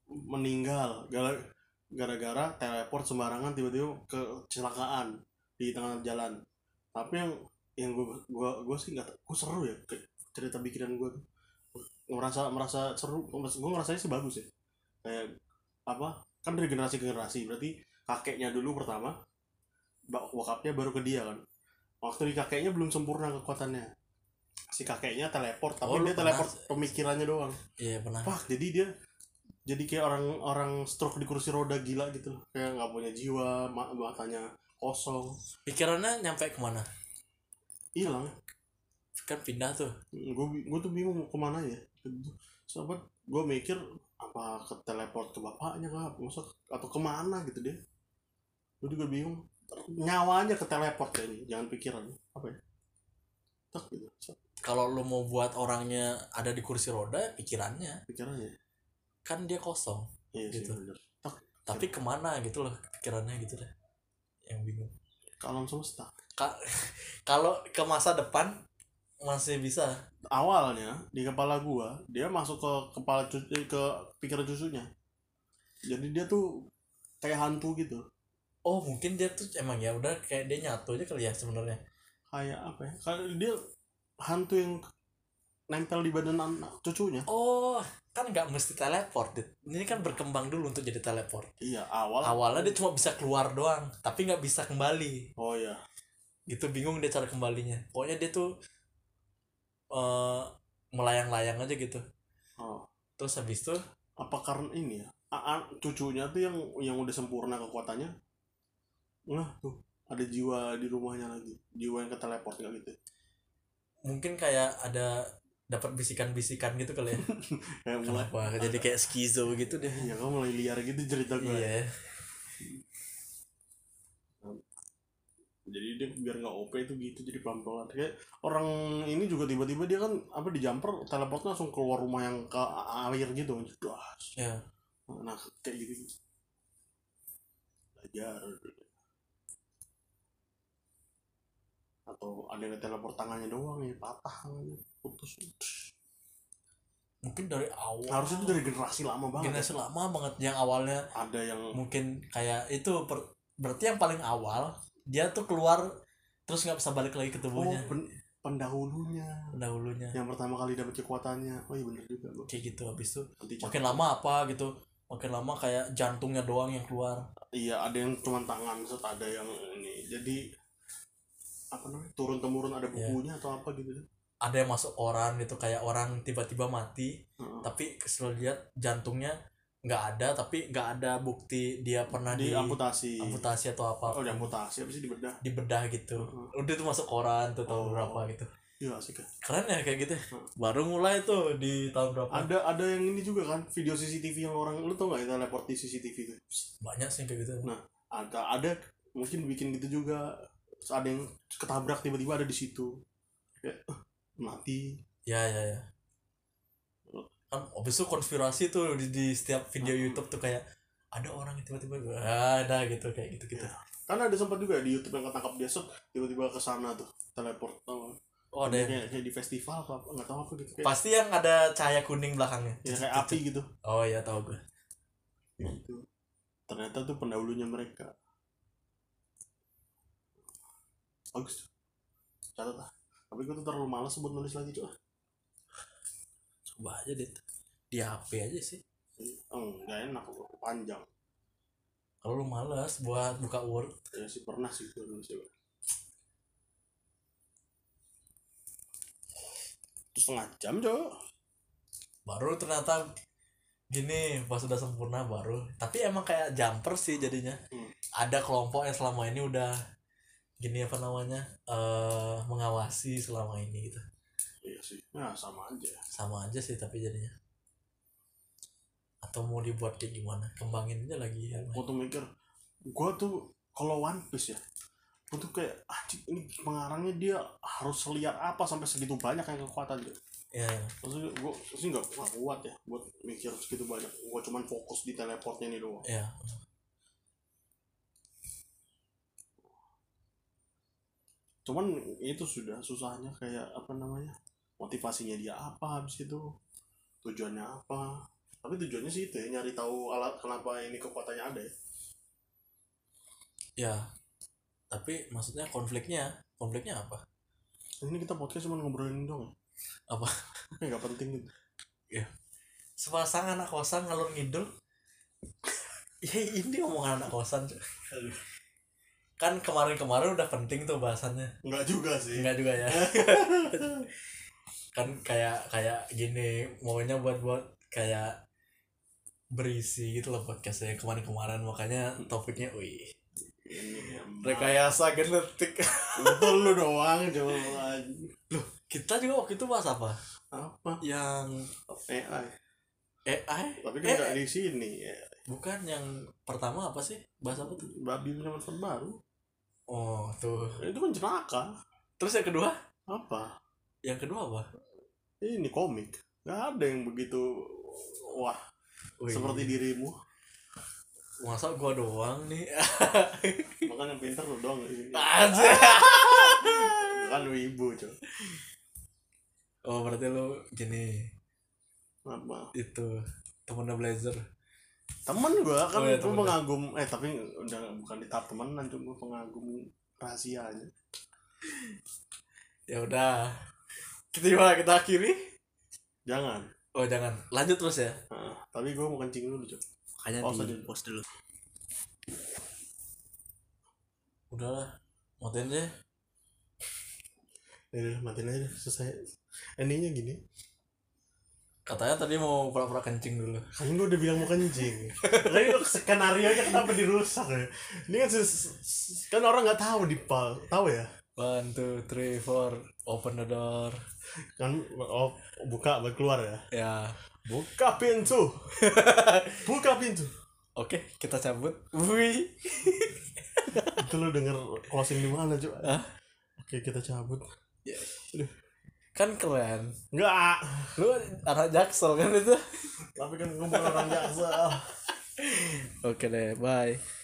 A: meninggal gara- gara-gara teleport sembarangan tiba-tiba kecelakaan di tengah jalan tapi yang yang gue gua gua sih nggak gue seru ya kayak cerita pikiran gue merasa merasa seru gue ngerasanya sih bagus ya kayak apa kan dari generasi ke generasi berarti kakeknya dulu pertama bak- bokapnya baru ke dia kan waktu di kakeknya belum sempurna kekuatannya si kakeknya teleport tapi
B: Oh,
A: dia
B: lu pernah-
A: teleport pemikirannya doang
B: iya pernah
A: Pak, jadi dia jadi kayak orang orang stroke di kursi roda gila gitu loh. Kayak nggak punya jiwa, ma- matanya kosong,
B: pikirannya nyampe kemana
A: hilang.
B: kan pindah tuh
A: Gue gue tuh bingung mau kemana ya. Sobat, gue mikir apa ke teleport ke bapaknya kah? Maksud, atau kemana gitu dia? Gue juga bingung. Nyawanya ke teleport kayaknya, ya jangan pikiran. Apa ya? Tak gitu, set,
B: kalau lu mau buat orangnya ada di kursi roda pikirannya
A: pikirannya.
B: kan dia kosong
A: Iya sih,
B: Gitu.
A: bener.
B: tapi kemana gitu loh pikirannya gitu deh yang bingung
A: Ke alam semesta.
B: Ka- kalau ke masa depan masih bisa
A: awalnya di kepala gua dia masuk ke kepala cu- eh, ke pikiran cucunya jadi dia tuh kayak hantu gitu
B: oh mungkin dia tuh emang ya udah kayak dia nyatu aja kali ya sebenarnya
A: kayak apa ya kalau dia hantu yang nempel di badan anak cucunya
B: oh kan nggak mesti teleport Dit. ini kan berkembang dulu untuk jadi teleport
A: iya awal
B: awalnya dia cuma bisa keluar doang tapi nggak bisa kembali
A: oh ya
B: gitu bingung dia cara kembalinya pokoknya dia tuh eh melayang-layang aja gitu
A: oh.
B: terus habis itu
A: apa karena ini ya A- a- cucunya tuh yang yang udah sempurna kekuatannya nah tuh ada jiwa di rumahnya lagi jiwa yang keteleport kayak gitu
B: mungkin kayak ada dapat bisikan-bisikan gitu kali ya
A: kayak mulai
B: kenapa jadi kayak skizo gitu deh
A: ya kamu mulai liar gitu cerita gue
B: iya
A: jadi dia biar nggak OP itu gitu jadi pelan pelan kayak orang ini juga tiba tiba dia kan apa di jumper teleport langsung keluar rumah yang ke air gitu Duas.
B: ya
A: nah kayak gitu belajar atau ada yang teleport tangannya doang ya patah tangannya putus
B: mungkin dari awal
A: harusnya itu dari generasi lama banget
B: generasi lama banget yang awalnya
A: ada yang
B: mungkin kayak itu per- berarti yang paling awal dia tuh keluar terus nggak bisa balik lagi ke
A: oh
B: tubuhnya
A: pen- pendahulunya
B: Oh. dahulunya
A: yang pertama kali dapat kekuatannya oh iya bener juga gua.
B: kayak gitu habis itu
A: nanti
B: makin lama apa gitu makin lama kayak jantungnya doang yang keluar
A: Iya, ada yang cuma tangan, set ada yang ini. Jadi apa namanya? Turun temurun ada
B: Iya.
A: bukunya atau apa gitu.
B: ada yang masuk koran gitu kayak orang tiba-tiba mati
A: Heeh.
B: tapi selalu lihat jantungnya nggak ada tapi nggak ada bukti dia pernah
A: Di
B: di,
A: amputasi.
B: amputasi atau
A: Iya.
B: apa
A: Oh, di amputasi apa sih di bedah?
B: di bedah gitu
A: Heeh.
B: udah tuh masuk koran tuh
A: Oh.
B: tahun berapa gitu
A: Iya, asik ya.
B: keren ya kayak gitu ya.
A: Heeh.
B: baru mulai tuh di tahun berapa
A: Ada ada yang ini juga kan, video CCTV yang orang lu tau gak ya teleport di CCTV itu?
B: banyak sih kayak gitu
A: Ada ada mungkin bikin gitu juga terus ada yang ketabrak tiba-tiba ada di situ kayak eh, mati
B: ya ya ya kan abis itu konspirasi tuh di, di setiap video
A: Hmm.
B: YouTube tuh kayak ada orang yang tiba-tiba gua, "Ah, ada gitu kayak gitu
A: Ya.
B: gitu
A: karena ada sempat juga di YouTube yang ketangkap besok tiba-tiba ke sana tuh teleport tau nggak?
B: oh ada yang-
A: kayak, kayak di festival apa nggak tahu apa gitu kayak,
B: pasti yang ada cahaya kuning belakangnya
A: ya, kayak api gitu
B: oh ya tahu gue
A: gitu ternyata tuh pendahulunya mereka bagus tuh catat lah tapi gue tuh terlalu malas buat nulis lagi cuy
B: coba aja deh di HP aja sih
A: enggak oh, enak kok panjang
B: kalau lu malas buat buka Word
A: ya sih pernah sih gue nulis juga Terus setengah jam cuy
B: baru ternyata gini pas sudah sempurna baru tapi emang kayak jumper sih jadinya
A: Hmm.
B: ada kelompok yang selama ini udah gini apa namanya eh mengawasi selama ini gitu
A: iya sih nah sama aja
B: sama aja sih tapi jadinya atau mau dibuat kayak gimana kembangin aja lagi ya
A: gue tuh mikir gue tuh kalau One Piece ya gue tuh kayak ah cik, ini pengarangnya dia harus liar apa sampai segitu banyak yang kekuatan dia
B: ya ya.
A: maksudnya gue sih nggak nggak kuat ya buat mikir segitu banyak gue cuman fokus di teleportnya ini doang
B: ya
A: cuman itu sudah susahnya kayak apa namanya motivasinya dia apa habis itu tujuannya apa tapi tujuannya sih itu ya nyari tahu alat kenapa ini kekuatannya ada ya
B: ya tapi maksudnya konfliknya konfliknya apa
A: ini kita podcast cuma ngobrolin doang ya
B: Apa?
A: kayak nggak penting gitu
B: sepasang anak kosan ngalur ngidul ya ini omongan anak kosan Cuk.
A: Aduh.
B: kan kemarin-kemarin udah penting tuh bahasannya
A: nggak juga sih
B: enggak juga ya kan kayak kayak gini maunya buat buat kayak berisi gitu loh podcastnya kemarin-kemarin makanya topiknya wih
A: Ini emang.
B: rekayasa genetik
A: Betul lu doang coba
B: kita juga waktu itu bahas apa
A: apa
B: yang
A: AI
B: AI
A: tapi kan
B: Eh.
A: nggak di sini ya.
B: bukan yang pertama apa sih bahas apa tuh
A: babi punya manfaat baru
B: oh tuh
A: itu kan celaka
B: terus yang kedua
A: apa
B: yang kedua apa
A: ini komik nggak ada yang begitu wah
B: Wih,
A: seperti dirimu
B: masa gua doang nih
A: makanya yang pinter lu doang di sini
B: aja
A: kan lu ibu coba
B: oh berarti lu gini
A: apa
B: itu temennya blazer
A: temen gua kan
B: Oh, iya,
A: gua
B: temen.
A: pengagum eh tapi udah bukan di tahap temenan cuma pengagum rahasia aja
B: ya udah kita gimana kita akhiri
A: jangan
B: oh jangan lanjut terus ya
A: Nah, tapi gua mau kencing dulu coba
B: makanya
A: Oh, sudah di
B: post dulu udahlah matiin deh
A: ya udah matiin aja deh, selesai endingnya gini
B: katanya tadi mau pura-pura kencing dulu
A: kan gua udah bilang mau kencing tapi lu skenario nya kenapa dirusak ya ini kan ses- ses- kan orang nggak tahu di pal tahu ya
B: one two three four open the door
A: kan oh, buka buat keluar ya
B: ya
A: buka pintu buka pintu
B: oke kita cabut wih
A: itu lo denger closing di mana cuy
B: Hah?
A: oke kita cabut
B: kan keren
A: enggak
B: lu anak jaksel kan itu
A: tapi kan gue bukan orang jaksa
B: oke deh bye